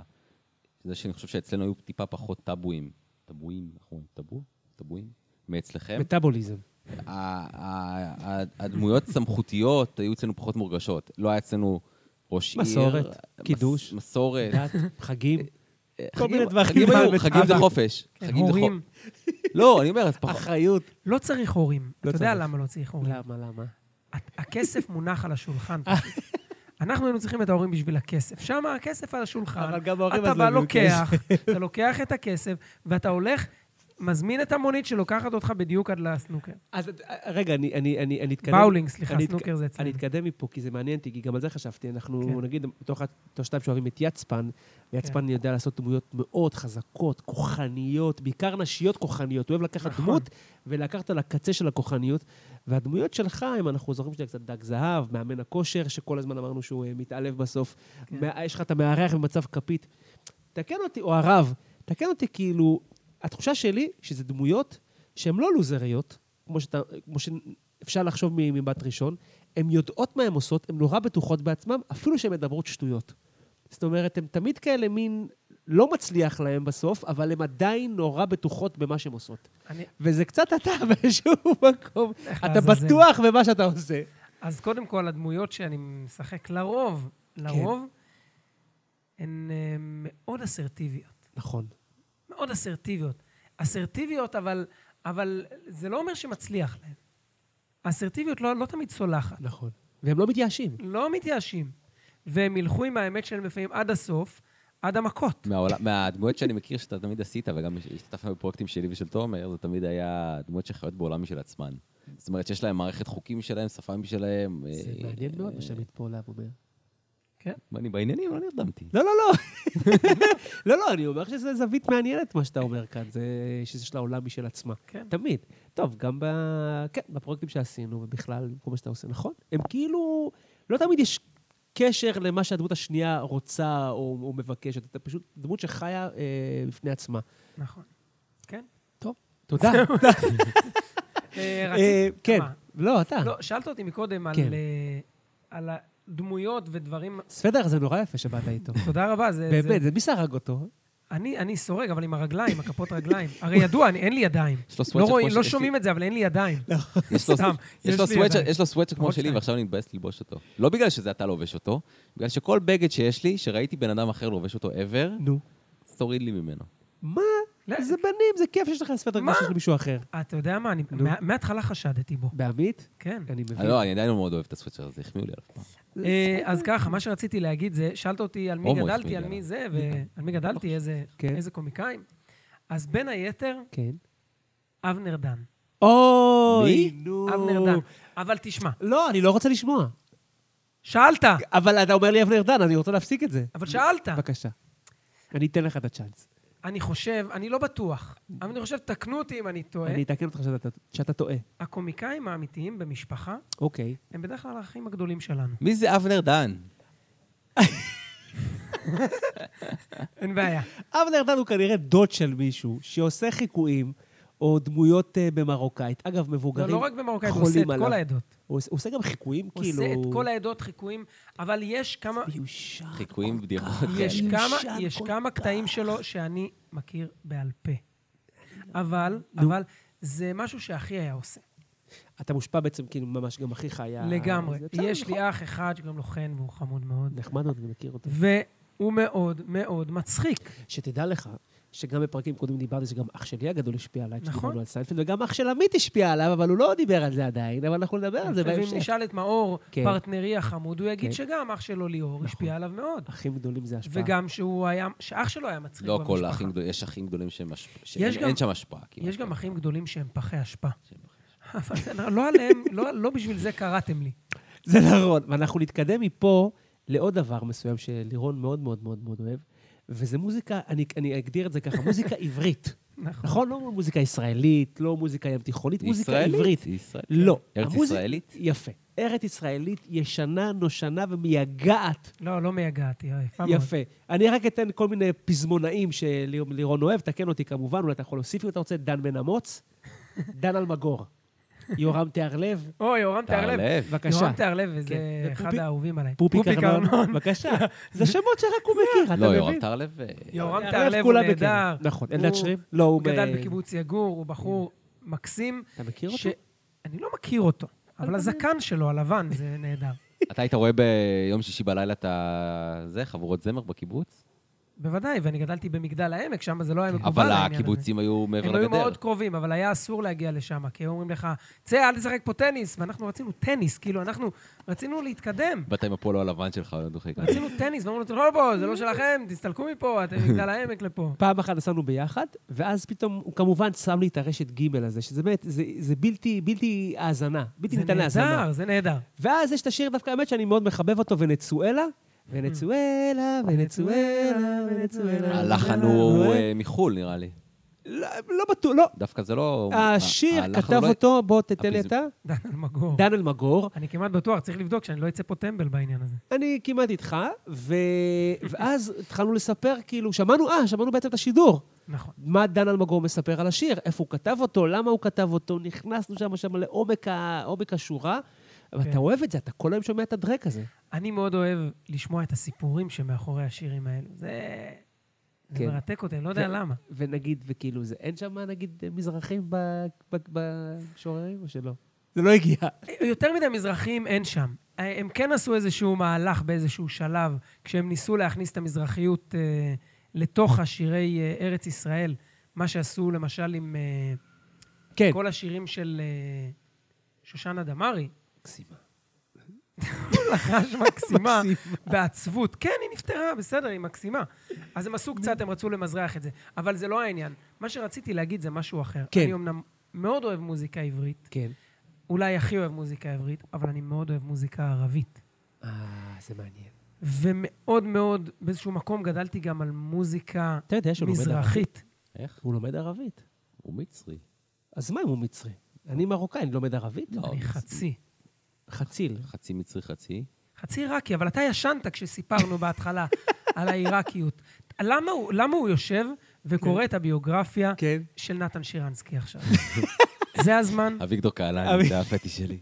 A: זה שאני חושב שאצלנו היו טיפה פחות טאבואים. טאבואים, נכון? טאבו? טאבואים? מאצלכם.
B: מטאבוליזם.
A: ה- ה- ה- הדמויות סמכותיות היו אצלנו פחות מורגשות. לא היה אצלנו ראש עיר.
B: מסורת,
A: מס-
B: קידוש.
A: מסורת.
B: דת, חגים. כל מיני
A: חגים-
B: דברים.
A: חגים היו-
B: אבא.
A: חגים זה חופש.
C: כן,
A: חגים זה חופש.
C: הורים.
A: לא, אני אומר, אז פחות.
B: אחריות.
C: לא צריך הורים.
B: לא
C: אתה יודע
B: צריך.
C: למה לא צריך הורים.
B: למה, למה?
C: הת- הכסף מונח על השולחן. פשוט. אנחנו היינו צריכים את ההורים בשביל הכסף. שם הכסף על השולחן.
B: אבל גם ההורים
C: אתה
B: אז
C: בא,
B: לא הביאו
C: לוקח, אתה לוקח את הכסף, ואתה הולך, מזמין את המונית שלוקחת אותך בדיוק עד לסנוקר.
B: אז אה, רגע, אני, אני, אני, אני אתקדם.
C: באולינג, סליחה,
B: אני
C: סנוקר זה אצלנו.
B: אני אתקדם מפה, כי זה מעניין אותי, כי גם על זה חשבתי. אנחנו,
C: כן.
B: נגיד, בתוך התושבים שאוהבים את יצפן, יצפן יודע לעשות דמויות מאוד חזקות, כוחניות, בעיקר נשיות כוחניות. הוא אוהב לקחת
C: נכון.
B: דמות ולקחת לכקצה של הכוחניות. והדמויות שלך, אם אנחנו זוכרים שזה קצת דג זהב, מאמן הכושר, שכל הזמן אמרנו שהוא אה, מתעלב בסוף.
C: כן.
B: מה- יש לך את המארח במצב כפית. תקן אותי, או הרב, תקן אותי כאילו, התחושה שלי שזה דמויות שהן לא לוזריות, כמו, שאתה, כמו שאפשר לחשוב מ- ממבט ראשון, הן יודעות מה הן עושות, הן נורא בטוחות בעצמן, אפילו שהן מדברות שטויות. זאת אומרת, הן תמיד כאלה מין לא מצליח להן בסוף, אבל הן עדיין נורא בטוחות במה שהן עושות.
C: אני-
B: וזה קצת אתה באיזשהו מקום.
C: איך
B: אתה
C: לעזאזל.
B: בטוח במה שאתה עושה.
C: אז קודם כל, הדמויות שאני משחק, לרוב,
B: כן.
C: לרוב, הן אה, מאוד אסרטיביות.
B: נכון.
C: מאוד אסרטיביות. אסרטיביות, אבל, אבל זה לא אומר שמצליח להן. האסרטיביות לא, לא תמיד צולחת.
B: נכון. והם לא מתייאשים.
C: לא מתייאשים. והם ילכו עם האמת שלהם לפעמים עד הסוף, עד המכות.
A: מהעולם- מהדמויות שאני מכיר שאתה תמיד עשית, וגם השתתפנו בפרויקטים שלי ושל תומר, זה תמיד היה דמויות שחיות בעולם משל עצמן. זאת אומרת שיש להם מערכת חוקים שלהם, שפה משלהם.
B: זה
A: אה,
B: מעניין מאוד מה שעמית פולב אומר.
C: כן?
A: אני בעניינים, לא נרדמתי.
B: לא, לא, לא. לא, לא, אני אומר שזו זווית מעניינת, מה שאתה אומר כאן, זה שיש לה עולם משל עצמה.
C: כן.
B: תמיד. טוב, גם ב... כן, בפרויקטים שעשינו, ובכלל, כל מה שאתה עושה, נכון? הם כאילו... לא תמיד יש קשר למה שהדמות השנייה רוצה או, או מבקשת. אתה פשוט דמות שחיה אה, בפני עצמה.
C: נכון. כן?
B: טוב, תודה.
C: אה,
B: אה,
C: רצית-
B: כן.
C: מה?
B: לא, אתה.
C: לא, שאלת אותי מקודם על,
B: כן.
C: אה, על הדמויות ודברים...
B: סוודר זה נורא יפה שבאת איתו.
C: תודה רבה, זה... זה-
B: באמת, זה מי שהרג אותו?
C: אני, אני סורג, אבל עם הרגליים, הכפות רגליים. הרי ידוע, אני, אין לי ידיים.
A: יש לו סוואצ'ר
C: לא
A: כמו
C: רואים,
A: ש-
C: לא
A: יש לי-
C: שומעים את זה, אבל אין לי ידיים.
A: יש לו-
C: סתם,
A: יש לו
C: לי
A: סוואצ'ר-
C: ידיים.
A: יש לו סוואצ'ר כמו
C: עוד
A: שלי,
C: שתיים.
A: ועכשיו אני מתבאס ללבוש אותו. לא בגלל שזה אתה לובש אותו, בגלל שכל בגד שיש לי, שראיתי בן אדם אחר לובש אותו ever,
B: נו.
A: תוריד לי ממנו.
B: מה?
C: לא.
B: זה בנים, זה כיף שיש לך סוודר כמו
C: מה?
B: שיש למישהו אחר.
C: אתה יודע מה, אני
B: נו.
C: מה- מההתחלה חשדתי בו.
B: בעמית?
C: כן.
B: אני מבין.
A: אני לא, אני עדיין מאוד אוהב את הסוואצ'ר הזה, החמיאו לי עליו.
C: אה, אז ככה, מה שרציתי להגיד זה, שאלת אותי על מי
A: הומואס,
C: גדלתי,
A: מי
C: על
A: גדל?
C: מי זה, ועל מי גדלתי, איזה-
B: כן.
C: איזה קומיקאים. אז בין היתר,
B: כן.
C: אבנר דן.
B: אוי,
A: מי?
B: נו.
C: אבנר דן. אבל תשמע,
B: לא, אני לא רוצה לשמוע.
C: שאלת,
B: אבל אתה אומר לי אבנר דן, אני רוצה להפסיק את זה.
C: אבל שאלת.
B: בבקשה. אני אתן לך את הצ'אנס.
C: אני חושב, אני לא בטוח, אבל אני חושב, תקנו אותי אם אני טועה.
B: אני אתקן אותך שאתה- שאתה טועה.
C: הקומיקאים האמיתיים במשפחה,
B: אוקיי.
C: הם בדרך כלל האחים הגדולים שלנו.
A: מי זה אבנר דן?
C: אין בעיה. לא,
B: אבנר דן הוא כנראה דוד של מישהו שעושה חיקויים או דמויות אה, במרוקאית. אגב,
C: לא
B: מבוגרים
C: לא רק במרוקאית, הוא עושה את
B: חולים עליו.
C: כל העדות.
B: הוא עושה- הוא עושה גם חיקויים,
C: הוא
B: כאילו...
C: עושה את כל העדות, חיקויים, אבל יש כמה...
B: מיושן.
A: חיקויים
C: נכון.
A: כן. בדיחות.
C: יש
B: מיושן
C: כמה, יש
B: כל
C: כמה
B: כך.
C: קטעים שלו שאני מכיר בעל פה. אבל, אבל, זה משהו שאחי היה עושה.
B: אתה מושפע בעצם, כאילו, ממש גם אחיך היה...
C: לגמרי.
B: זה בסדר,
C: יש
B: נכון.
C: לי אח אחד שקוראים לו חן, והוא חמוד מאוד.
B: נחמד מאוד, אני מכיר אותו.
C: והוא מאוד מאוד מצחיק.
B: אה, שתדע לך, שגם בפרקים קודמים דיברתי שגם אח שלי הגדול השפיע עליי,
C: נכון.
B: כשדיברנו על סיינפלד, וגם אח של עמית השפיע עליו, אבל הוא לא דיבר על זה עדיין, אבל אנחנו נדבר על זה
C: ואם
B: בהמשך.
C: נשאל את מאור,
B: כן.
C: פרטנרי החמוד, הוא יגיד
B: כן. נכון.
C: שגם אח שלו ליאור השפיע עליו מאוד.
B: אחים גדולים זה השפעה.
C: וגם שהוא היה, שאח שלו היה מצחיק
A: לא כל
C: במשפחה.
A: האחים גדולים, יש אחים גדולים שהם השפ-
C: יש
A: שאין
C: גם-
A: אין שם השפעה. כמעט.
B: נכון.
C: יש גם אחים גדולים שהם פחי אשפה. אבל לא עליהם, לא- לא בשביל זה קראתם לי.
B: זה נכון. ואנחנו נתקדם מפה לעוד דבר מסוים שלירון מאוד מאוד מאוד מאוד אוהב, וזה מוזיקה, אני, אני אגדיר את זה ככה, מוזיקה עברית.
C: נכון.
B: נכון? לא מוזיקה ישראלית, לא מוזיקה ים תיכונית, מוזיקה
A: ישראלית,
B: עברית.
A: ישראל-
B: לא.
A: ארץ
B: המוזיק-
A: ישראלית?
B: יפה. ארץ ישראלית ישנה, נושנה ומייגעת
C: לא, לא מייגעתי, יפה מאוד.
B: יפה. אני רק אתן כל מיני פזמונאים שלירון אוהב, תקן אותי כמובן, אולי אתה יכול להוסיף אם אתה רוצה, דן בן אמוץ, דן אלמגור, יורם תיארלב,
C: אוי, יורם תיארלב.
A: תערלב.
B: בבקשה.
C: יורם תיארלב, וזה
B: כן,
C: אחד
B: ופופי-
C: האהובים עליי.
B: פופי קרנון, בבקשה. זה שמות שרק הוא מכיר, אתה
A: לא,
B: מבין?
A: יורם טרלב... אה,
C: יורם
B: תיארלב
C: תיארלב הוא
B: כולם מכירים.
C: נהדר.
B: נכון,
C: הוא-
B: אלדד שרים? לא, הוא
C: הוא גדל
B: ב-
C: בקיבוץ יגור, הוא בחור מקסים.
B: אתה מכיר
C: ש-
B: אותו?
C: אני לא מכיר אותו, אבל הזקן שלו, הלבן, זה נהדר.
A: אתה היית רואה ביום שישי בלילה את ה... זה, חבורות זמר בקיבוץ?
C: בוודאי, ואני גדלתי במגדל העמק, שם זה לא היה מקובל
A: אבל
C: העניין הזה.
A: הקיבוצים לא היו מעבר
C: הם היו
A: לגדר.
C: מאוד קרובים, אבל היה אסור להגיע לשם, כי היו אומרים לך, צא, אל תשחק פה טניס, ואנחנו רצינו טניס, כאילו, אנחנו רצינו להתקדם.
A: באת עם הפולו הלבן שלך, לא דוחק.
C: רצינו טניס, ואמרנו, תלכו לפה, זה לא שלכם, תסתלקו מפה, אתם מגדל העמק לפה.
B: פעם אחת נסענו ביחד, ואז פתאום הוא כמובן שם לי את הרשת ג' הזה, שזה באמת, זה- זה בלתי, בלתי האזנה, בלתי
C: זה
B: ניתן להאזנה.
C: נהדר, זה נהדר.
B: ואז יש את השיר דווקא, האמת שאני מאוד מחבב אותו, ונצואלה.
C: Mm.
B: ונצואלה, ונצואלה, ונצואלה.
A: הלחן הוא אה, מחו"ל, נראה לי.
B: לא לא בטוח, לא. אה,
A: דווקא זה לא...
C: אה,
B: השיר,
A: הלחן
B: כתב
A: הוא לא-
B: אותו, בוא תתן לי
A: הפזמ-
B: אתה,
C: דן אלמגור.
B: דן אלמגור.
C: אני כמעט בטוח, צריך לבדוק שאני לא אצא פה טמבל בעניין הזה.
B: אני כמעט איתך, ו... ואז התחלנו לספר, כאילו, שמענו, אה, שמענו בעצם את השידור.
C: נכון.
B: מה דן אלמגור מספר על השיר, איפה הוא כתב אותו, למה הוא כתב אותו, נכנסנו שם שם לעומק ה- עומק השורה. אבל
C: כן. לא
B: אתה אוהב את זה, אתה כל היום שומע את הדרק הזה.
C: אני מאוד אוהב לשמוע את הסיפורים שמאחורי השירים האלו. זה... זה
B: כן.
C: מרתק אותי, אני לא יודע
B: זה-
C: למה.
B: ונגיד, וכאילו, זה, אין שם, נגיד, מזרחים ב- ב- במשוררים או שלא? זה לא הגיע.
C: יותר מדי מזרחים אין שם. הם כן עשו איזשהו מהלך באיזשהו שלב, כשהם ניסו להכניס את המזרחיות אה, לתוך השירי אה, ארץ ישראל. מה שעשו למשל עם אה,
B: כן.
C: כל השירים של אה, שושנה דמארי.
B: מקסימה.
C: לחש
B: מקסימה.
C: מקסימה, בעצבות. כן, היא נפטרה, בסדר, היא מקסימה. אז הם עשו קצת, הם רצו למזרח את זה. אבל זה לא העניין. מה שרציתי להגיד זה משהו אחר.
B: כן.
C: אני אמנם מאוד אוהב מוזיקה עברית,
B: כן.
C: אולי הכי אוהב מוזיקה עברית, אבל אני מאוד אוהב מוזיקה ערבית.
B: אה, זה מעניין.
C: ומאוד מאוד, באיזשהו מקום גדלתי גם על מוזיקה
B: אתה יודע שהוא לומד
C: מזרחית.
A: איך?
B: הוא לומד ערבית.
A: הוא מצרי.
B: אז מה אם הוא מצרי? אני מרוקאי, אני לומד ערבית?
A: לא.
C: אני חצי.
B: חציל.
A: חצי מצרי, חצי.
C: חצי עיראקי, אבל אתה ישנת כשסיפרנו בהתחלה על העיראקיות. למה הוא, למה הוא יושב וקורא את הביוגרפיה
B: כן.
C: של נתן שירנסקי עכשיו? זה הזמן,
A: אביגדור קהלן,
B: אבי-
A: זה הפטי שלי.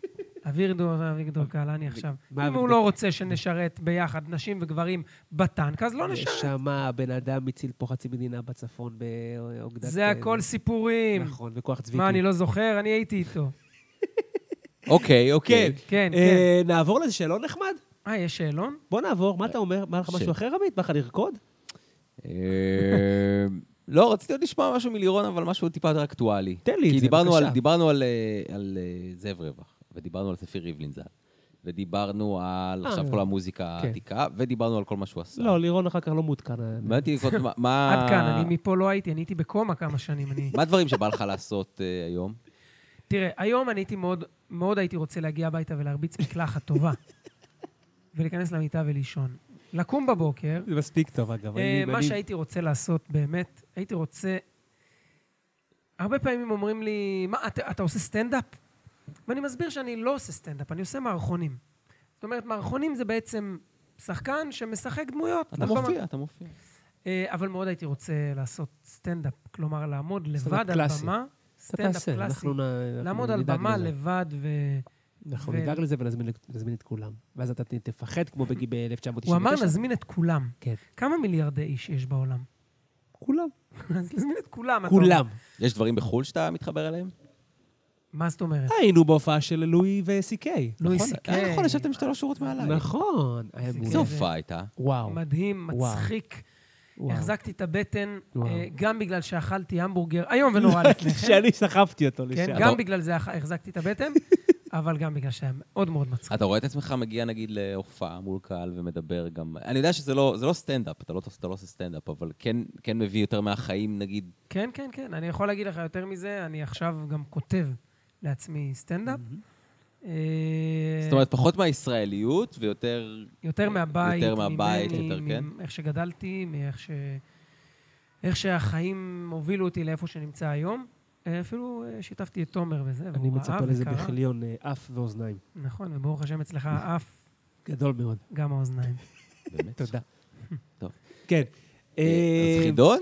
C: אביגדור אביגדור קהלני עכשיו.
B: מה
C: אם הוא
B: אביגדור?
C: לא רוצה שנשרת ביחד נשים וגברים בטנק, אז לא נשרת.
B: שם בן אדם הציל פה חצי מדינה בצפון באוגדת...
C: זה הכל סיפורים.
B: נכון, וכוח צביקי.
C: מה, אני לא זוכר? אני הייתי איתו.
A: אוקיי,
B: כן.
A: אוקיי.
C: כן, כן.
B: אה, נעבור לאיזה שאלון נחמד?
C: אה, יש שאלון?
B: בוא נעבור, מה אתה אומר? מה לך
A: ש-
B: משהו אחר, עמית? בא לך לרקוד?
A: אה, לא, רציתי עוד לשמוע משהו מלירון, אבל משהו טיפה יותר אקטואלי.
B: תן לי את
A: כי
B: זה,
A: דיברנו על-
B: בבקשה.
A: דיברנו על, אה, על אה, זאב רווח, ודיברנו על ספיר ריבלין ז"ל, ודיברנו על
B: אה,
A: עכשיו כל המוזיקה
B: כן.
A: העתיקה, ודיברנו על כל מה שהוא עשה.
B: לא, לירון אחר כך לא מעודכן.
A: באתי לקרוא, מה- מה...
C: עד כאן, אני מפה לא הייתי, אני הייתי בקומה כמה שנים. אני...
A: מה הדברים שבא לך לעשות אה, היום?
C: תראה, היום אני הייתי מאוד, מאוד הייתי רוצה להגיע הביתה ולהרביץ מקלחת טובה. ולהיכנס למיטה ולישון. לקום בבוקר,
B: זה מספיק טוב, אגב.
C: אה, מה שהייתי רוצה לעשות באמת, הייתי רוצה... הרבה פעמים אומרים לי, מה, אתה, אתה עושה סטנדאפ? ואני מסביר שאני לא עושה סטנדאפ, אני עושה מערכונים. זאת אומרת, מערכונים זה בעצם שחקן שמשחק דמויות.
A: אתה
C: על במה.
A: מופיע, אתה מופיע.
C: אה, אבל מאוד הייתי רוצה לעשות סטנדאפ, כלומר, לעמוד
B: סטנדאפ
C: לבד על
B: קלאסי.
C: במה. סטנדאפ קלאסי. לעמוד על במה לבד ו...
B: אנחנו
C: ו-
B: נדאג לזה ונזמין נזמין את כולם. ואז אתה ת- תפחד כמו ב-1999.
C: הוא אמר, נזמין את כולם.
B: כן.
C: כמה מיליארדי איש יש בעולם?
B: כולם.
C: אז נזמין את כולם. אתה
B: כולם.
C: אומר.
A: יש דברים בחו"ל שאתה מתחבר אליהם?
C: מה זאת אומרת?
B: היינו בהופעה של לואי וסי-קיי.
C: לואי
A: נכון,
C: סי.קיי.
A: אה, נכון, ישבתם
B: לא
A: שתי שורות מעליי.
B: נכון. היה
C: זה
B: מעולה.
A: איזה הופעה הייתה?
B: וואו.
C: מדהים,
B: וואו.
C: מצחיק.
B: וואו.
C: החזקתי את הבטן,
B: וואו.
C: אה, גם בגלל שאכלתי המבורגר איום ונורא לפני כן.
B: שאני סחבתי אותו לשם.
C: כן, גם בגלל זה אכ- החזקתי את הבטן, אבל גם בגלל שהיה מאוד מאוד מצחיק.
A: אתה רואה את עצמך מגיע נגיד להופעה מול קהל ומדבר גם... אני יודע שזה לא, זה לא סטנדאפ, אתה לא, אתה לא עושה סטנדאפ, אבל כן, כן מביא יותר מהחיים, נגיד...
B: אה.
C: כן, כן, כן. אני יכול להגיד לך יותר מזה, אני עכשיו גם כותב לעצמי סטנדאפ. אה,
A: זאת אומרת, פחות מהישראליות ויותר...
C: יותר מהבית,
A: יותר מהבית,
C: ממני,
A: יותר, כן.
C: מאיך שגדלתי, מאיך ש... איך שהחיים הובילו אותי לאיפה שנמצא היום. אה, אפילו אה, שיתפתי את תומר בזה,
B: אני
C: והוא
B: מצפה
C: אהב
B: לזה
C: וקרא.
B: בכיליון אה, אף ואוזניים.
C: נכון, וברוך השם אצלך אף,
B: גדול מאוד.
C: גם האוזניים.
A: באמת.
B: תודה.
A: טוב.
B: כן.
A: אה, אז
B: אה,
A: חידון?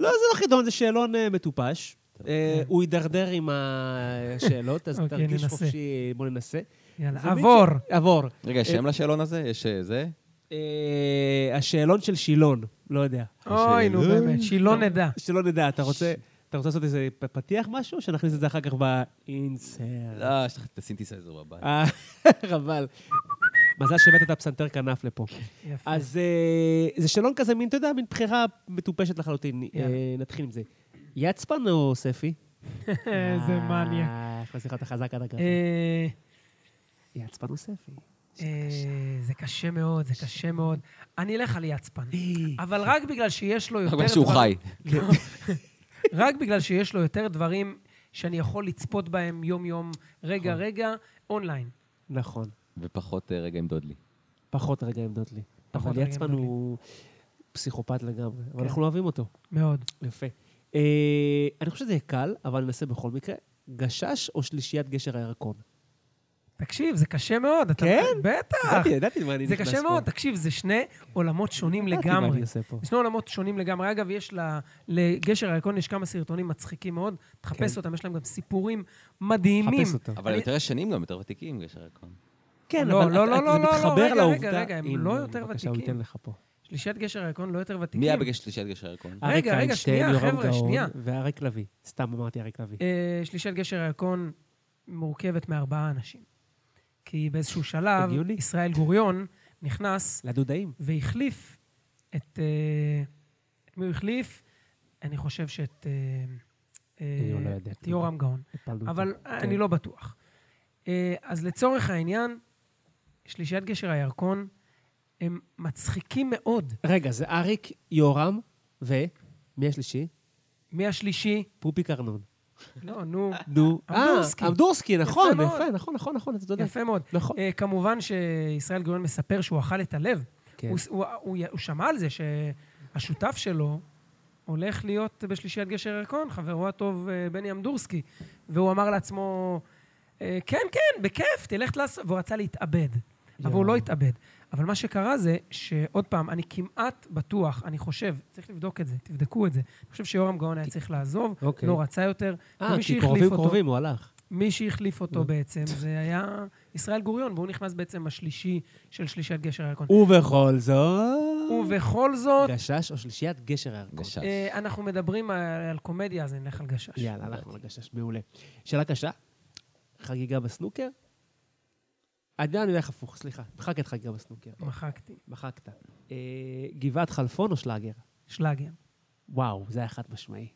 B: לא, זה לא חידון, זה שאלון אה, מטופש. אה, הוא יידרדר עם השאלות, אז
C: כן. אוקיי,
B: תרגיש
C: ננסה.
B: חופשי, בוא ננסה.
C: יאללה,
B: זה מין
C: עבור.
B: ש- עבור.
A: רגע, יש שם לשאלון הזה? יש אה, זה?
B: אה, השאלון של שילון, לא יודע.
C: אוי, נו
A: השאלה-
C: באמת, שלא לא נדע.
B: שלא נדע, אתה רוצה... אתה רוצה לעשות איזה פ- פתיח משהו, או שנכניס את זה אחר כך באינסר?
A: לא, יש לך את הסינתסייזר בבית.
B: אה, חבל. מזל שהבאת את הפסנתר כנף לפה.
C: כן, יפה.
B: אז אה, זה שאלון כזה, מין, אתה יודע, מין בחירה מטופשת לחלוטין. אה,
C: יאללה.
B: נתחיל עם זה. יצפן או ספי?
C: איזה מניאק.
B: אה, איך מצליח להיות חזק עד הגב.
C: אה,
B: יצפן או ספי?
C: אה, זה קשה מאוד, זה קשה מאוד. אני אלך על יצפן.
B: אה,
C: אבל
B: כן.
C: רק בגלל שיש לו
A: רק
C: יותר...
A: בגלל שהוא
C: דברים-
A: חי.
C: לא. רק בגלל שיש לו יותר דברים שאני יכול לצפות בהם יום-יום, רגע-רגע, אונליין.
B: נכון.
A: ופחות אה, רגע עם דודלי.
B: פחות רגע עמדות לי.
C: פחות
B: אבל
C: רגע
B: יצפן
C: עמדות לי.
B: הוא פסיכופת לגמרי, אבל
C: כן.
B: אנחנו אוהבים אותו.
C: מאוד.
B: יפה. אה,
C: אה,
B: אני חושב שזה יהיה קל, אבל ננסה בכל מקרה. גשש או שלישיית גשר הירקון?
C: תקשיב, זה קשה מאוד. אתה-
B: כן?
C: בטח.
B: ידעתי, ידעתי למה אני
C: זה
B: נכנס
C: קשה
B: פה.
C: מאוד, תקשיב, זה שני עולמות שונים
B: ידעתי מה
C: לגמרי.
B: אני עושה פה.
C: זה שני עולמות שונים לגמרי. אגב, יש ל- לגשר הירקון, יש כמה סרטונים מצחיקים מאוד, תחפש אותם, יש להם גם סיפורים מדהימים.
B: כן. חפש אותם.
A: אבל הם יותר ישנים גם, יותר ותיקים, גשר הירקון.
B: כן,
C: לא,
B: אבל
C: לא,
B: את-
C: לא,
B: את-
C: לא,
B: זה
C: לא, לא,
B: מתחבר
C: רגע,
B: לעובדה.
C: רגע, רגע, הם
B: הנה,
C: לא יותר
B: בבקשה, הוא
C: ותיקים.
B: ייתן לך פה.
C: שלישיית גשר הירקון לא יותר ותיקים.
A: מי היה בשלישיית גשר הירקון?
C: רגע,
B: אריק
C: רגע,
B: איינשטיין,
C: שנייה,
B: יורם
C: חבר'ה,
B: גאון
C: שנייה.
B: ואריק לביא. סתם אמרתי אריק לביא.
C: אה, שלישיית גשר הירקון מורכבת מארבעה אנשים. כי באיזשהו שלב,
B: הגיוני.
C: ישראל גוריון נכנס
B: לדודאים.
C: והחליף את... אה, את מי הוא החליף? אני חושב שאת... אה, אה,
B: אני לא יודע.
C: את יורם גאון.
B: התפלדות.
C: אבל אני
B: כן.
C: לא בטוח. אה, אז לצורך העניין, שלישיית גשר הירקון, הם מצחיקים מאוד.
B: רגע, זה אריק, יורם, ו... מי השלישי?
C: מי השלישי?
B: פופי קרנון.
C: לא, נו,
B: נו,
C: אמדורסקי.
B: אה, אמדורסקי, נכון,
C: מאוד.
B: יפה, נכון, נכון, נכון, אתה צודק.
C: יפה מאוד.
B: נכון.
C: אה, כמובן שישראל גוריון מספר שהוא אכל את הלב.
B: כן.
C: הוא, ס- הוא, הוא, הוא שמע על זה שהשותף שלו הולך להיות בשלישיית גשר ירקון, חברו הטוב אה, בני אמדורסקי. והוא אמר לעצמו, אה, כן, כן, בכיף, תלך לעשות... והוא רצה להתאבד. אבל הוא
B: יואו.
C: לא התאבד. אבל מה שקרה זה שעוד פעם, אני כמעט בטוח, אני חושב, צריך לבדוק את זה, תבדקו את זה. אני חושב שיורם גאון היה צריך לעזוב,
B: אוקיי.
C: לא רצה יותר.
B: אה,
C: ומי
B: כי
C: שהחליף
B: קרובים
C: אותו-
B: קרובים, הוא הלך.
C: מי שהחליף אותו בעצם, זה היה ישראל גוריון, והוא נכנס בעצם השלישי של שלישיית גשר הירקון.
B: ובכל זאת...
C: ובכל זאת,
B: גשש או שלישיית גשר הירקון.
A: גשש.
C: אה, אנחנו מדברים על על קומדיה, אז נלך על גשש.
B: יאללה, הלכנו לגשש, מעולה. שאלה קשה, חגיגה בסנוקר? עדיין אני הולך הפוך, סליחה. מחק את חגיגה בסנוקר.
C: מחקתי.
B: מחקת. אה, גבעת חלפון או שלאגר?
C: שלאגר.
B: וואו, זה היה חד משמעי.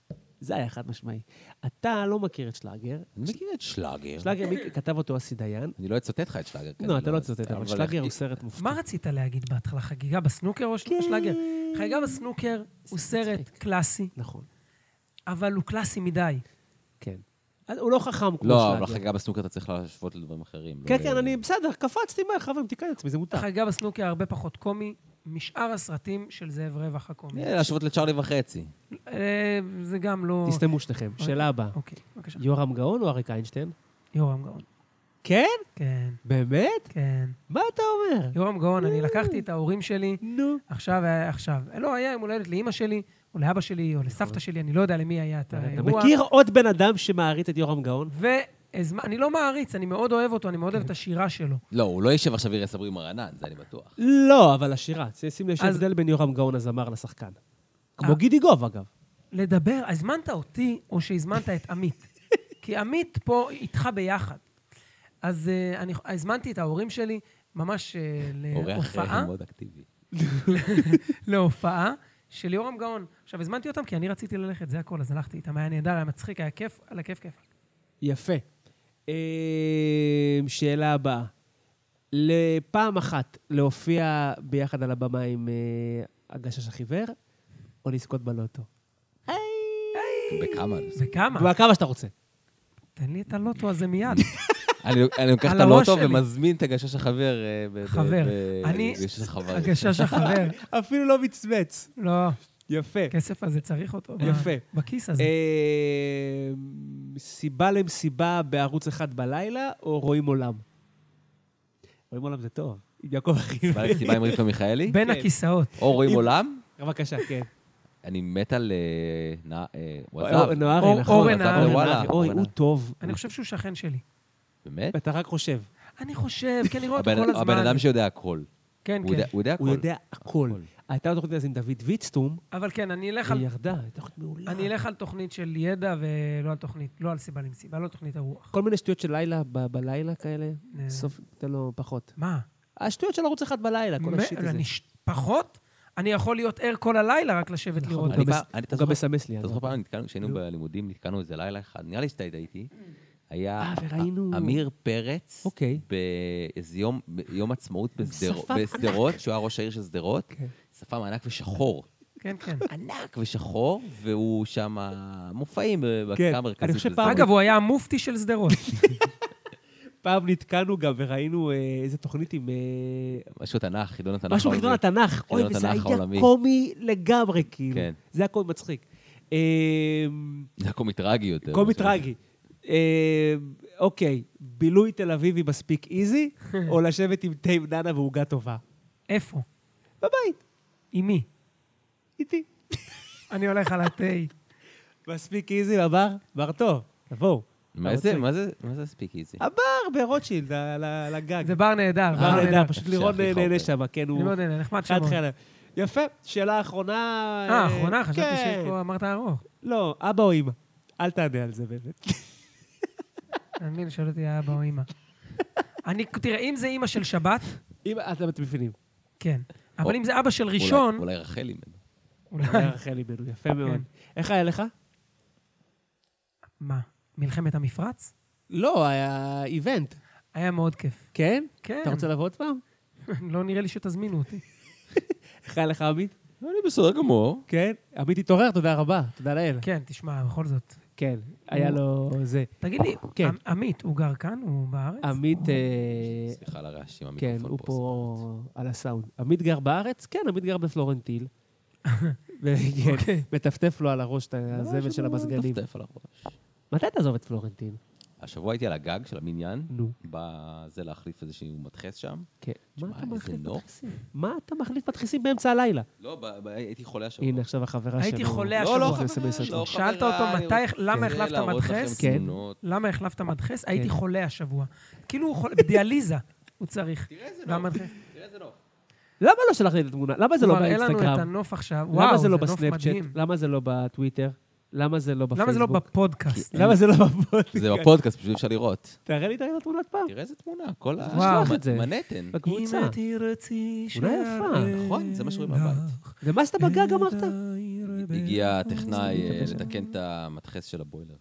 B: זה היה חד משמעי. אתה לא מכיר את שלאגר.
A: אני מכיר את שלאגר.
B: אה, שלאגר, מי כתב אותו אסי דיין.
A: אני לא אצטט לך את שלאגר. כי
B: לא,
A: אני
B: אתה לא תצטט, אבל שלאגר הוא
A: לא,
B: סרט מופתי.
C: מה רצית להגיד בהתחלה? חגיגה בסנוקר או של- שלאגר? חגיגה בסנוקר הוא סרט
B: כן. מצחיק.
C: קלאסי,
B: נכון,
C: אבל הוא קלאסי מדי.
B: כן. אז הוא לא חכם כמו
A: לא, אבל
B: שלאגר.
A: החגיגה בסנוקר אתה צריך להשוות לדברים אחרים.
B: כן,
A: לא
B: כן,
A: ל-
B: אני בסדר, קפצתי מהר, חברים, תיקח את עצמי, זה מותר.
C: חגיגה בסנוקר הרבה פחות קומי משאר הסרטים של זאב רווח הקומי.
A: אה, להשוות לצ'ארלי וחצי.
C: אה, זה גם לא...
B: תסתמו שניכם. שאלה הבאה.
C: אוקיי, בבקשה.
B: יורם גאון או אריק איינשטיין?
C: יורם גאון.
B: כן?
C: כן,
B: באמת?
C: כן.
B: מה אתה אומר?
C: יורם גאון, אני לקחתי את ההורים שלי,
B: נו.
C: עכשיו, אה, עכשיו. לא, היה יום הולדת לאימא שלי, או לאבא שלי, או לסבתא שלי, אני לא יודע למי היה את
B: אתה
C: האירוע.
B: מכיר עוד בן אדם שמעריץ את יורם גאון?
C: ואני לא מעריץ, אני מאוד אוהב אותו, אני מאוד אוהב את השירה שלו.
A: לא, הוא לא יישב עכשיו ויראה סברי מרנן, זה אני בטוח.
B: לא, אבל השירה. שים לב
C: אז-
B: שהבדל בין יורם גאון הזמר לשחקן.
C: אה.
B: כמו גידי גוב, אגב.
C: לדבר, הזמנת אותי, או שהזמנת את עמית? כי עמית פה איתך ביחד. אז אה, אני הזמנתי את ההורים שלי, ממש אה,
A: אורח
C: להופעה,
A: אה, מאוד אקטיבי.
C: להופעה של יורם גאון. עכשיו, הזמנתי אותם כי אני רציתי ללכת, זה הכל, אז הלכתי איתם, היה נהדר, היה מצחיק, היה כיף, על הכיף כיף.
B: יפה. אמ, שאלה הבאה. לפעם אחת להופיע ביחד על הבמה עם אה, הגשש החיוור, או לזכות בלוטו?
A: בכמה?
C: וכמה?
B: כמה שאתה רוצה.
C: תן לי את הלוטו הזה מיד.
A: אני אני לוקח
C: על
A: את הלוטו
C: הראש שלי.
A: ומזמין את הגשש החבר. אה, ב- ב-
C: חבר.
A: ב-
C: אני-
A: הגשש החבר.
C: הגשש החבר.
B: אפילו לא מצמץ.
C: לא,
B: יפה.
C: הכסף הזה צריך אותו. ב-
B: יפה. אה,
C: בכיס הזה.
B: אמ, סיבה למסיבה בערוץ אחד בלילה, או רואים עולם? רואים עולם זה טוב. עם יעקב
A: בא
B: אחימאיר.
A: לרכיבה עם רבקה מיכאלי?
C: בין
B: כן.
C: הכיסאות.
A: או רואים עולם?
B: בבקשה, כן.
A: אני מת על... אה, נע- אה, הוא עזב.
B: אור- נהרי, נכון.
C: אורן
B: עזב
C: נהרי.
A: וואלה,
B: אוי,
A: אורן
B: הוא
A: נהרי.
B: טוב.
C: אני חושב שהוא שכן שלי.
A: באמת?
B: אתה רק חושב.
C: אני חושב, כן, אני רואה אותו
A: הבן
C: כל הזמן.
A: הבן אדם שיודע הכל.
C: כן,
A: הוא
C: כן.
A: יודע- הוא יודע הכל.
B: הוא יודע הכל. הייתה לו תוכנית אז עם דוד ויצטום,
C: אבל כן, אני אלך על-
B: והיא ירדה, הייתה תוכנית מעולה.
C: אני אלך על תוכנית של ידע ולא על תוכנית, לא על סיבה למסיבה, לא על תוכנית הרוח.
B: כל מיני שטויות של לילה, ב- בלילה כאלה,
C: אה.
B: סוף, נותן לו פחות.
C: מה?
B: השטויות של ערוץ אחד בלילה, כל
C: מה-
B: השיט הזה.
C: אני ש- פחות? אני יכול להיות ער כל הלילה רק לשבת לראות.
A: אני
B: נכון, הוא גם
A: פעם-
B: מס-
A: אני- אתה
B: הוא גם
A: זוכר-
B: מסמס לי,
A: אתה
B: אגב.
A: זוכר פעם, נתקענו- כשהיינו בלימודים, נתקענו איזה לילה אחד, נראה לי שאתה היית איתי. היה
B: אה, וראינו-
A: א- אמיר פרץ,
B: אוקיי.
A: באיזה יום, יום עצמאות בשדרו-
B: שפם ענק. אוקיי.
A: בשדרות, שהוא היה ראש העיר של שדרות, שפם ענק ושחור.
C: כן, כן.
A: ענק ושחור, והוא שם מופעים
B: כן,
A: בקאמר
B: אני
A: המרכזית
B: חושב
A: של
B: פעם-
A: שדרות.
C: אגב, הוא היה המופתי של שדרות.
B: פעם נתקענו גם וראינו אה, איזה תוכנית עם... אה,
A: משהו תנ"ך, חידון התנ"ך.
B: משהו
A: העולמי.
B: מגדול התנ"ך. אוי,
A: חידון
B: וזה
A: התנ"ך
B: היה
A: העולמי.
B: קומי לגמרי, כאילו.
A: כן.
B: זה היה קומי מצחיק. אמ,
A: זה לא היה קומי טרגי יותר.
B: קומי
A: משהו.
B: טרגי. אה, אוקיי, בילוי תל אביבי מספיק איזי, או לשבת עם תה עם ננה ועוגה טובה?
C: איפה?
B: בבית,
C: עם מי?
B: איתי.
C: אני הולך על התה.
B: מספיק איזי לבר, בר טוב, תבואו.
A: מה זה,
B: אוקיי.
A: מה זה, מה זה ספיק איזי?
B: הבר ברוטשילד, על ה- על הגג.
C: זה בר נהדר,
B: אה,
C: בר נהדר.
B: נהדר, פשוט
A: אפשר
B: לירון
A: להכריח
B: נהנה
A: אותו.
B: שם, כן, הוא...
C: לירון אוקיי. נהנה, נחמד
B: חד
C: שמאוד.
B: חייל. יפה, שאלה אחרונה...
C: אה, אחרונה, חשבתי
B: כן.
C: שיש פה, אמרת ארוך.
B: לא, אבא או אמא. אל תענה על זה באמת.
C: אני מבין, שואל אותי האבא או אימא. אני, תראה, אם זה אימא של שבת,
B: אמא, אתם אתם מבינים.
C: כן.
A: או-
C: אבל אם זה אבא של ראשון,
A: אולי רחל אימנו.
C: אולי...
B: רחלי בנו,
C: כן.
B: יפה מאוד. איך היה לך?
C: מה, מלחמת המפרץ?
B: לא, היה איבנט.
C: היה מאוד כיף.
B: כן?
C: כן.
B: אתה רוצה לבוא עוד פעם?
C: לא נראה לי שתזמינו אותי.
B: איך היה לך, עמית?
A: אני בסדר גמור.
B: כן. עמית התעורר, תודה רבה. תודה לאל.
C: כן, תשמע, בכל זאת.
B: כן. היה לו זה.
C: תגיד לי,
B: כן. אמ-
C: עמ- עמית, הוא גר כאן? הוא בארץ?
B: עמית... אה,
A: סליחה על הרעש עם
B: כן,
A: המיקרופון
B: הוא
A: פה.
B: פה על הסאונד. עמית גר בארץ? כן, עמית גר בפלורנטיל. וכן,
C: אוקיי.
B: מטפטף לו על הראש את
A: לא,
B: הזבל של
A: שהוא
B: המזגנים.
A: מטפטף על הראש.
B: מתי תעזוב את פלורנטין?
A: השבוע הייתי על הגג של המניין,
B: נו.
A: בא זה להחליף איזשהו מדחס שם.
B: כן. מה
A: תשמע,
B: אתה
A: איזה
B: מחליף
A: נוף.
B: מדחסים? מה אתה מחליף מדחסים באמצע הלילה?
A: לא, ב- ב- הייתי חולה השבוע.
B: הנה, עכשיו החברה שלו.
C: הייתי חולה
A: לא, לא,
C: השבוע.
A: חברה,
B: SMS אותו.
A: לא,
C: שאלת
A: חברה,
C: אותו
A: אני
C: מתי-
A: רוצה
C: למה החלפת
A: להראות לכם
C: מדחס?
B: כן.
A: תמונות.
C: למה החלפת מדחס? הייתי חולה השבוע. כאילו הוא חולה, בדיאליזה הוא צריך.
B: כן.
A: תראה איזה נוף.
C: והמדחס-
A: תראה איזה נוף.
B: למה לא שלחת לי את התמונה? למה זה
C: הוא
B: לא
C: מראה לנו את
B: באינסטגרם?
C: הנוף עכשיו.
B: למה
C: וואו,
B: זה
C: זה
B: לא
C: נוף
B: בסנאפצ'אט?
C: מדהים.
B: למה זה לא בטוויטר? למה זה לא בפייסבוק?
C: למה זה לא בפודקאסט?
B: למה זה לא בפודקאסט?
A: זה בפודקאסט, פשוט אפשר לראות.
B: תראה לי את התמונות פעם.
A: כן. תראה איזה תמונה, כל ה...
C: וואו.
B: שלח את זה.
A: מנהטן.
B: בקבוצה.
C: אם תרצי
B: אולי יפה,
C: שאראה
A: נכון, זה מה שרואים
C: לך
A: בבית.
B: ומה שאתה בגג אמרת?
C: העיר
A: הגיע
C: בחוץ.
A: הטכנאי אה, לתקן את המדחס של הבוילר.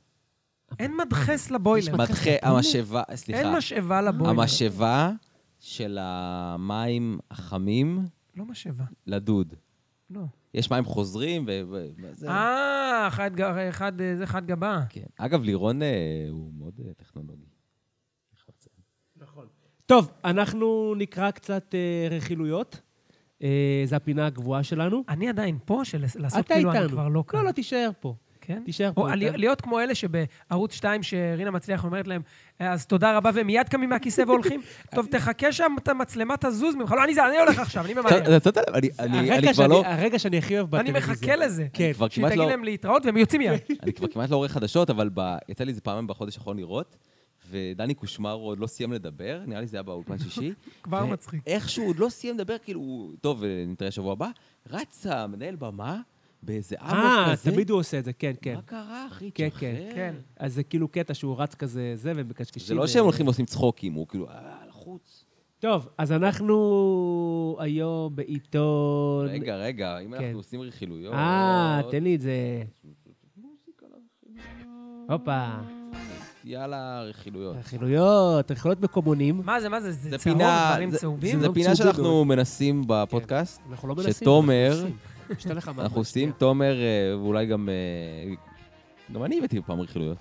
C: אין מדחס לבוילר.
A: מדחס, המשאבה, אה, סליחה.
C: אין משאבה לבוילר.
A: המשאבה של המים החמים
C: לא משאבה,
A: לדוד.
C: לא.
A: יש מים חוזרים ו... ו- וזה-
C: אה, אחד גר- אחד, אה, זה חד גבה.
A: כן. אגב, לירון אה, הוא מאוד אה, טכנולוגי.
B: טוב, אנחנו נקרא קצת אה, רכילויות. אה, זו הפינה הקבועה שלנו.
C: אני עדיין פה, של לעשות
B: אתה
C: אה, כאילו אני
B: איתנו.
C: כבר לא כאן.
B: לא, לא, תישאר פה.
C: כן?
B: תישאר
C: או
B: פה,
C: להיות-
B: אתה-
C: להיות כמו אלה שבערוץ 2, שרינה מצליח אומרת להם, אז תודה רבה, והם מיד קמים מהכיסא והולכים, טוב, תחכה שהמצלמה תזוז ממך. לא, אני זה, אני הולך עכשיו, אני
B: לא
C: ממהר.
A: אתה- אתה שמת לב, אני- אני-
B: הרגע
A: אני כבר לא...
B: שאני- הרגע שאני הכי אוהב
C: אני
B: בטלוויזיה.
C: מחכה לזה.
B: כן.
A: כבר
C: שהיא
A: כמעט
C: תגיד
A: לא-
C: להם להתראות, והם יוצאים מיד.
A: אני כבר כמעט לא עורך חדשות, אבל ב... יצא לי איזה פעמיים בחודש האחרון לראות, ודני קושמרו עוד לא סיים לדבר, נראה לי זה היה באולפן שישי.
C: כבר מצחיק.
A: איכשהו עוד לא סיים לדבר, כאילו, הוא- טוב, אה, נתראה שבוע הבא, רץ המנהל במה באיזה אמוק
B: אה,
A: כזה.
B: תמיד הוא עושה את זה, כן, כן.
A: מה קרה, אחי?
B: כן,
A: תשחרר.
B: כן.
C: כן.
B: אז זה כאילו קטע שהוא רץ כזה, זה, ומקשקשים.
A: זה לא שהם הולכים ועושים צחוקים, הוא כאילו, אה, לחוץ.
B: טוב, אז אנחנו היום בעיתון...
A: רגע, לא. רגע, אם
B: כן.
A: אנחנו עושים רכילויות...
B: אה, תן לי את זה. הופה,
A: יאללה, רכילויות.
B: רכילויות, רכילויות מקומונים.
C: מה זה, מה זה? זה
A: זה
C: צהוב,
A: פינה,
C: דברים
A: זה-
C: צהובים?
A: זה
B: לא
A: פינה
B: צהובים כן.
A: שאנחנו מנסים בפודקאסט,
B: אנחנו לא מנסים.
A: שתומר,
B: אנחנו עושים. כן. אשתה לך מים,
A: אנחנו עושים, תומר, אה, ואולי גם... אה, גם אני הבאתי פעם רכילויות.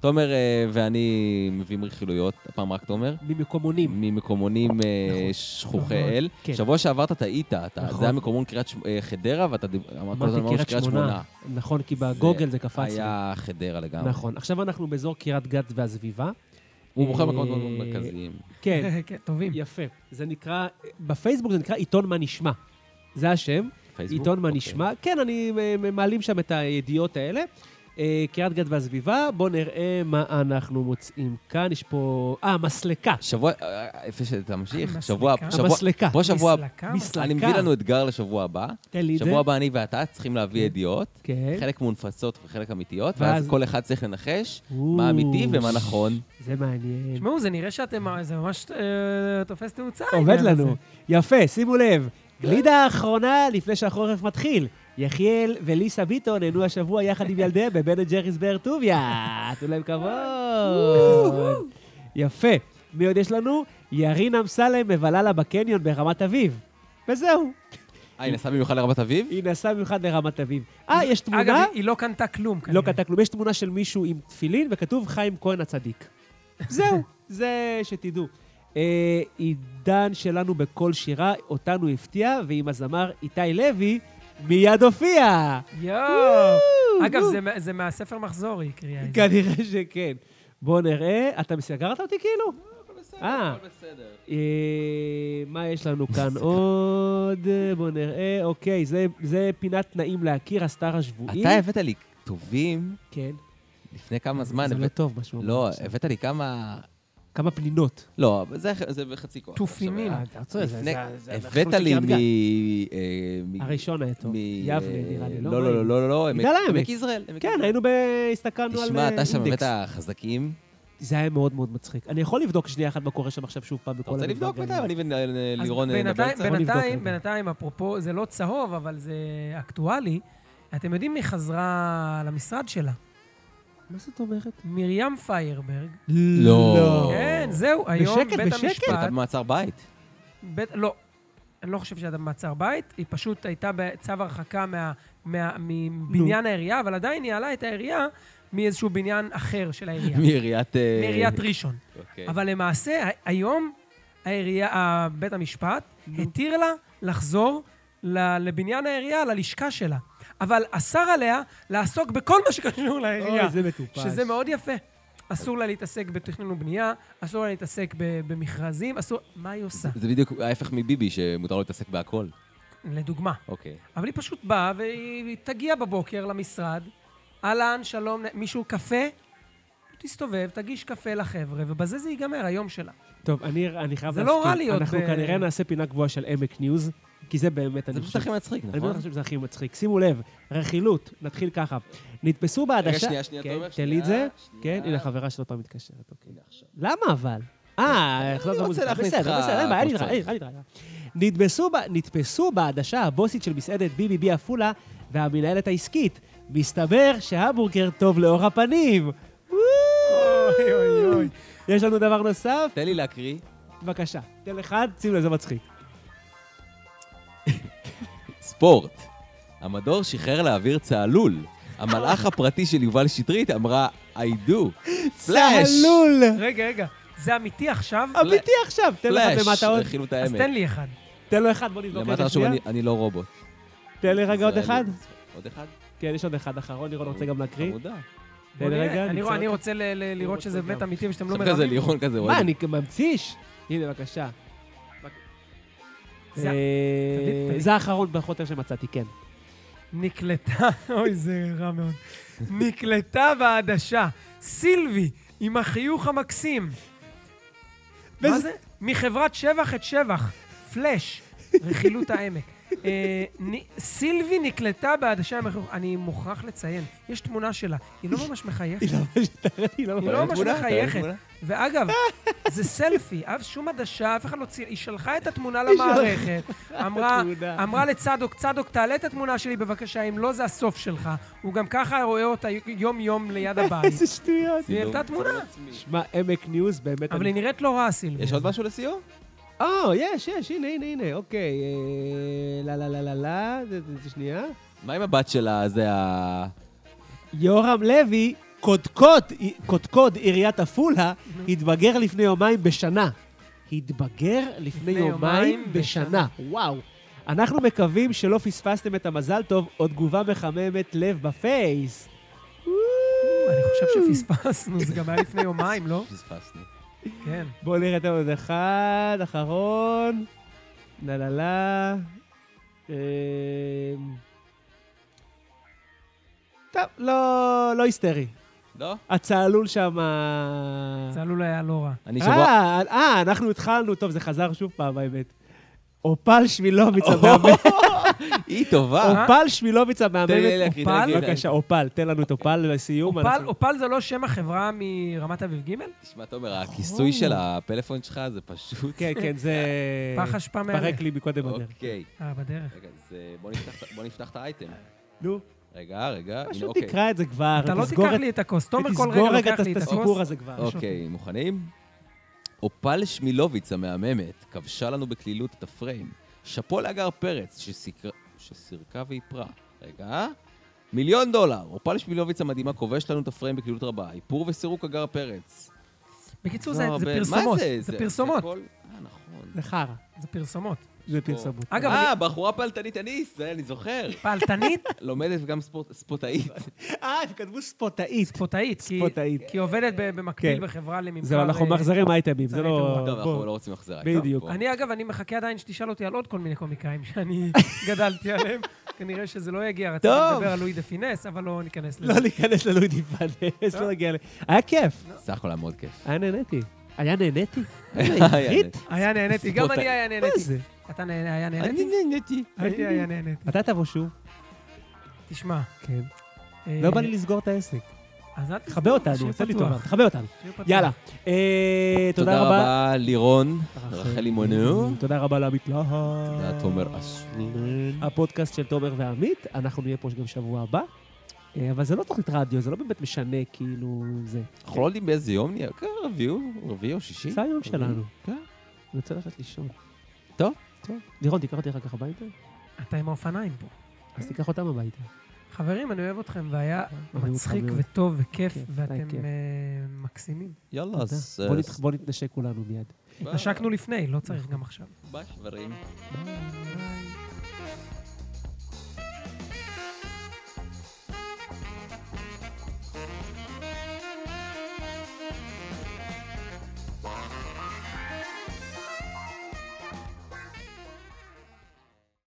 A: תומר אה, ואני מביאים רכילויות, הפעם רק תומר,
B: ממקומונים.
A: ממקומונים אה,
B: נכון.
A: שכוחי
C: נכון.
A: אל.
B: כן.
A: שבוע שעבר אתה טעית, אתה-
B: נכון.
A: זה היה מקומון קריית ש- אה, חדרה, ואתה דיב- אמרת כל הזמן
B: אמרתי
A: ממש
B: קריית שמונה. נכון, כי בגוגל זה קפץ לי.
A: היה חדרה לגמרי.
B: נכון. עכשיו אנחנו באזור קריית גת והסביבה.
A: הוא מוכר מקומות
B: אה,
A: מאוד מאוד מרכזיים.
B: כן.
C: כן, טובים.
B: יפה. זה נקרא, בפייסבוק זה נקרא עיתון מה נשמע. זה השם.
A: פייסבוק?
B: עיתון מה
A: אוקיי.
B: נשמע. כן, אני אה, מעלים שם את הידיעות האלה. אה, קריית גת והסביבה, בואו נראה מה אנחנו מוצאים כאן. יש פה... אה, מסלקה.
A: שבוע, אה, אה, יפה שאתה ממשיך,
C: המסלקה.
A: שבוע, שבוע,
B: המסלקה.
A: בוא שבוע,
C: מסלקה?
B: מסלקה.
A: אני מביא לנו אתגר לשבוע הבא.
B: תן לי את זה.
A: שבוע הבא אני ואתה צריכים להביא ידיעות,
B: כן.
A: חלק מונפצות וחלק אמיתיות, ואז
B: ואז-
A: כל אחד צריך לנחש
B: או.
A: מה אמיתי ומה נכון.
B: זה מעניין.
C: תשמעו, זה נראה שאתם, זה ממש אה, תופס תאוצה.
B: עובד
C: העניין
B: לנו.
C: הזה.
B: יפה, שימו לב. גלידה האחרונה לפני שהחורף מתחיל. יחיאל וליסה ביטון נהנו השבוע יחד עם ילדיהם בבן אנד ג'ריס באר טוביה. תנו להם כבוד. יפה. מי עוד יש לנו? ירין אמסלם מבלה לה בקניון ברמת אביב. וזהו.
A: אה, היא נסעה במיוחד לרמת אביב?
B: היא נסעה במיוחד לרמת אביב. אה, יש תמונה?
C: אגב, היא- היא לא קנתה כלום.
B: לא
C: כנראה.
B: קטע כלום. יש תמונה של מישהו עם תפילין, וכתוב חיים כהן הצדיק. זהו, זה שתדעו. אה, עידן שלנו בכל שירה, אותנו הפתיע, ועם הזמר איתי לוי, מיד הופיע.
C: יואו! אגב,
B: וואו. כן.
C: זה מה- זה מהספר מחזור, היא הקריאה את זה.
B: כנראה שכן. בוא נראה. אתה סגרת אותי כאילו? אה.
A: לא, הכל בסדר.
B: אה, מה יש לנו כאן עוד? בוא נראה. אוקיי, זה- זה פינת נעים להכיר, הסטאר השבועי.
A: אתה הבאת לי טובים
B: כן.
A: לפני כמה זמן.
B: זה לא
A: הבאת-
B: טוב, מה שהוא אמר
A: לא,
B: עכשיו.
A: הבאת לי כמה...
B: כמה פנינות.
A: לא, אבל זה- זה בחצי כוח.
C: תופינים.
B: אה, אתה צודק, זה-
A: לפני-
B: זה- זה- אנחנו
A: הבאת לי
B: בקריית
A: מ...
B: גת.
A: אה, מ-
B: הראשון היה טוב.
A: מ-
B: יבנה, נראה לי, לא?
A: לא, לא, לא, לא, לא, עמק-
B: מגדל העמק.
A: עמק יזרעאל. עמק
B: כן,
A: יזרעאל.
B: היינו ב... הסתכלנו על
A: תשמע,
B: אה,
A: אתה שם
B: אינדקס.
A: הבאת חזקים.
B: זה היה מאוד מאוד מצחיק. אני יכול לבדוק שנייה אחת מה קורה שם עכשיו שוב פעם
A: אתה
B: בכל
A: רוצה
B: המדבר
A: לבדוק
B: גליל.
A: בינתיים? אני
C: אז
A: ולירון
B: אה,
C: בינתיים,
A: נבצע.
B: בוא נבדוק
C: בינתיים,
B: רגע.
C: בינתיים, אפרופו, זה לא צהוב, אבל זה אקטואלי. אתם יודעים מי חזרה למשרד שלה?
B: מה זאת אומרת?
C: מרים פיירברג.
A: לא.
C: כן, זהו, היום
B: בשקט,
C: בית
B: בשקט?
A: היא הייתה
C: המשפט...
A: כן, במעצר בית.
C: בית, לא, אני לא חושב שהייתה במעצר בית, היא פשוט הייתה בצו הרחקה מה, מה, מבניין העירייה, אבל עדיין היא ניהלה את העירייה מאיזשהו בניין אחר של העירייה.
A: מעיריית... אה,
C: מעיריית ראשון.
B: כן.
A: אוקיי.
C: כן. אבל למעשה, ה- היום העירייה, ה- בית המשפט התיר לה לחזור ל- לבניין העירייה, ללשכה שלה. אבל אסר עליה לעסוק בכל מה שקשור לעירייה.
B: אוי, זה מטופש.
C: שזה מאוד יפה. אסור לה להתעסק בתכנון ובנייה, אסור לה להתעסק ב- במכרזים, אסור... מה היא עושה?
A: זה בדיוק ההפך מביבי, שמותר לו להתעסק בהכל.
C: לדוגמה.
A: אוקיי.
C: אבל היא פשוט באה, והיא היא תגיע בבוקר למשרד, אהלן, שלום, מישהו קפה? תסתובב, תגיש קפה לחבר'ה, ובזה זה ייגמר היום שלה.
B: טוב, אני, אני חייב
C: זה
B: להסכים.
C: לא רע להיות
B: אנחנו
C: ב-
B: כנראה נעשה פינה גבוהה של עמק ניוז, כי זה באמת,
A: אה, זה
B: אני
A: פשוט הכי מצחיק,
B: אני
A: נכון?
B: באמת חושב שזה הכי מצחיק. שימו לב, רכילות, נתחיל ככה. נתפסו בעדשה...
A: שנייה, שנייה,
B: כן,
A: תומר,
B: תן לי את זה.
A: שנייה,
B: כן,
A: שנייה.
B: הנה, חברה שלו פעם מתקשרת, אוקיי. למה אבל? אה, החלטת
A: רוצה
B: במוזיקה.
A: להכניס
B: בסדר,
A: לך
B: בסדר, אין בעיה,
A: כמו
B: נתראה,
A: שצריך.
B: נתראה. נתפסו ב- נתפסו בעדשה הבוסית של מסעדת BBB עפולה והמנהלת העסקית. מסתבר שההמבורגר טוב לאור הפנים. וואו!
C: אוי, אוי, אוי.
B: יש לנו דבר נוסף?
A: תן לי להקריא.
B: בבקשה, תן אחד, שים לב, זה מצחיק.
A: ספורט. המדור שחרר לאוויר צהלול. המלאך הפרטי של יובל שטרית אמרה, I do. פלאש!
B: צהלול!
C: רגע, רגע, זה אמיתי עכשיו?
B: אמיתי עכשיו! תן לו אחד
A: פלאש!
B: למטה עוד.
A: רכילו את
C: אז
A: העמק.
C: תן לי אחד.
B: תן לו אחד, בוא נבדוק
A: למטה
B: רגע
A: רשום,
B: שנייה.
A: "אני- אני לא רובוט.
B: תן לי רגע עוד
A: זה היה
B: אחד.
A: לי- עוד אחד?
B: כן, יש עוד אחד אחרון, לירון רוצה גם להקריא.
A: חמודה.
B: תן לי
C: בוא נראה.
B: רגע,
C: אני רוא-
B: נמצא
C: אני
B: אותו.
C: רוצה ל- ל- לראות
B: רוצה
C: שזה באמת
B: גם.
C: אמיתי ושאתם לא
A: עכשיו כזה
C: מרמים.
A: לירון כזה,
B: מה, אני ממציש? הנה, בבקשה.
C: זה-
B: אה,
C: תגיד, תגיד.
B: זה האחרון בחוטר שמצאתי, כן.
C: נקלטה, אוי, זה רע מאוד. נקלטה בעדשה. סילבי, עם החיוך המקסים. מה
B: וזה-
C: זה? מחברת שבח את שבח. פלאש, רכילות העמק. אה, נ- סילבי נקלטה בעדשה עם החיוך. אני מוכרח לציין, יש תמונה שלה, היא לא ממש מחייכת.
B: היא לא ממש- היא לא
C: היא
B: ממש...
C: לא ממש
A: תמונה, תראה
C: מחייכת.
A: תמונה.
C: ואגב, זה סלפי, אף שום עדשה, אף אחד לא ציר, היא שלחה את התמונה
B: היא שלחה
C: למערכת, אמרה,
B: התמונה.
C: אמרה לצדוק, צדוק, תעלה את התמונה שלי בבקשה, אם לא זה הסוף שלך. הוא גם ככה רואה אותה יום-יום ליד הבית.
B: איזה שטויות.
C: היא העלתה תמונה,
B: שמע, עמק ניוז באמת...
C: אבל
B: אני-
C: היא נראית לא רע, סילבי.
A: יש עוד משהו לסיום?
B: אה, יש, יש, הנה, הנה, הנה, אוקיי. אה, לה, לה, לה, לה, לה, זה- זה- זה שנייה.
A: מה עם הבת שלה, זה ה...
B: יורם לוי, קודקוד, קודקוד עיריית עפולה, התבגר לפני יומיים בשנה. התבגר לפני יומיים
C: יומיים
B: בשנה.
C: בשנה.
B: וואו. אנחנו מקווים שלא פספסתם את המזל טוב, או תגובה מחממת לב בפייס.
C: אני חושב שפספסנו, זה גם היה לפני יומיים, לא?
A: פספסנו.
C: כן.
B: בואו נראה את עוד אחד, אחרון. לה לה לה. אמ, טוב, לא, לא היסטרי.
A: לא?
B: הצהלול שם...
C: זה עלול היה לא רע.
A: אני שבוע...
B: אה, אה, אנחנו התחלנו, טוב, זה חזר שוב פעם, האמת. אופל שמילוביץ המהממת.
A: היא טובה.
B: אופל שמילוביץ
A: תן לי
B: המהממת.
A: להקריא,
C: אופל?
A: תן לי להקריא.
B: בבקשה, אופל, תן לנו את אופל לסיום.
C: אופל-
B: אנחנו-
C: אופל זה לא שם החברה מרמת אביב ג'?
A: תשמע, תומר, הכיסוי של הפלאפון שלך זה פשוט...
B: כן, כן, זה...
C: פח אשפה מהלך.
B: פרק לי מקודם בדרך.
A: אוקיי.
C: אה, בדרך.
A: רגע, אז אה, בוא נפתח- בוא נפתח את האייטם.
B: נו,
A: רגע, רגע, הנה,
B: פשוט
A: אוקיי.
B: תקרא את זה כבר.
C: אתה לא
B: תסגור
C: תיקח
B: את-
C: לי את הכוס. תומר כל
B: תסגור
C: רגע
B: רגע
C: לוקח לי את
B: הסיפור
C: הכוס.
B: הזה כבר.
A: אוקיי, מוכנים? אופל שמילוביץ המהממת כבשה לנו בקלילות את הפריים. שאפו להגר פרץ שסיקר- שסירקה ואיפרה. רגע. מיליון דולר. אופל שמילוביץ המדהימה כובשת לנו את הפריים בקלילות רבה. איפור וסירוק הגר פרץ.
C: בקיצור,
A: לא
C: זה זה
A: הרבה- מה
C: פרסומות.
A: זה?
C: זה פרסומות.
A: הכל- אה, נכון.
B: זה חרא.
C: זה פרסומות.
B: זה פרסמות.
C: אגב,
A: אה, בחורה פלטנית אניס, זה אני זוכר.
C: פעלתנית,
A: לומדת וגם ספורט- ספורטאית.
B: אה, הם כתבו ספורטאית.
C: ספורטאית. כי-
B: ספורטאית.
C: כי היא עובדת ב- במקביל
B: כן.
C: בחברה לממכר...
B: זהו, אנחנו
C: אה,
B: מחזרים אייטמים, זה לא...
A: טוב, אנחנו
B: בוא.
A: לא רוצים לחזור.
B: בדיוק.
C: אני, אגב, אני מחכה עדיין שתשאל אותי על עוד כל מיני קומיקאים שאני גדלתי עליהם. כנראה שזה לא יגיע, רציתי
B: טוב.
C: לדבר על לואי דה פינס, אבל לא ניכנס לזה.
B: לא ניכנס ללודי פאנס, לא נגיע ל... היה כיף,
A: סך הכל היה מאוד כיף.
B: היה נהניתי. היה נהניתי?
A: היה
B: עברית?
C: היה נהניתי, גם אני היה
B: מה
C: נהניתי.
B: זה?
C: אתה נהנה- היה
A: אני
C: נהניתי?
A: נהניתי.
C: אני היה נהניתי.
B: אתה תבוא שוב.
C: תשמע,
B: כן.
C: אה,
B: לא בא לי לסגור את העסק.
C: אז אל תסגור,
B: תכבה אותנו,
C: שיהיה
B: עושה לי
C: פתוח.
B: טובה. תכבה אותנו.
C: שיהיה פתוח.
B: יאללה. אה, תודה רבה. Mm,
A: לירון, רחלי מונאו.
B: תודה רבה לעמית להב.
A: תודה, תומר אסולן.
B: הפודקאסט של תומר ועמית, אנחנו נהיה פה גם שבוע הבא. אה, אבל זה לא תוכנית רדיו, זה לא באמת משנה, כאילו, זה.
A: אנחנו לא יודעים באיזה יום נהיה, כן, רביעי או- רביעי או שישי.
B: זה היום שלנו.
A: כן.
B: אני רוצה ללכת לישון.
A: טוב.
B: טוב. לירון, תיקח אותי אחר כך הביתה?
C: אתה עם האופניים פה.
B: אז תיקח אותם הביתה.
C: חברים, אני אוהב אתכם, והיה
B: אותך
C: מצחיק
B: מאוד.
C: וטוב וכיף,
B: כיף, היה
C: ואתם
B: כיף.
C: אה, מקסימים.
A: יאללה, אז...
B: בוא
A: אה,
B: נת- בוא נתנשק כולנו מיד.
A: ביי.
C: נשקנו לפני, לא צריך גם עכשיו.
A: ביי, חברים.
C: ביי.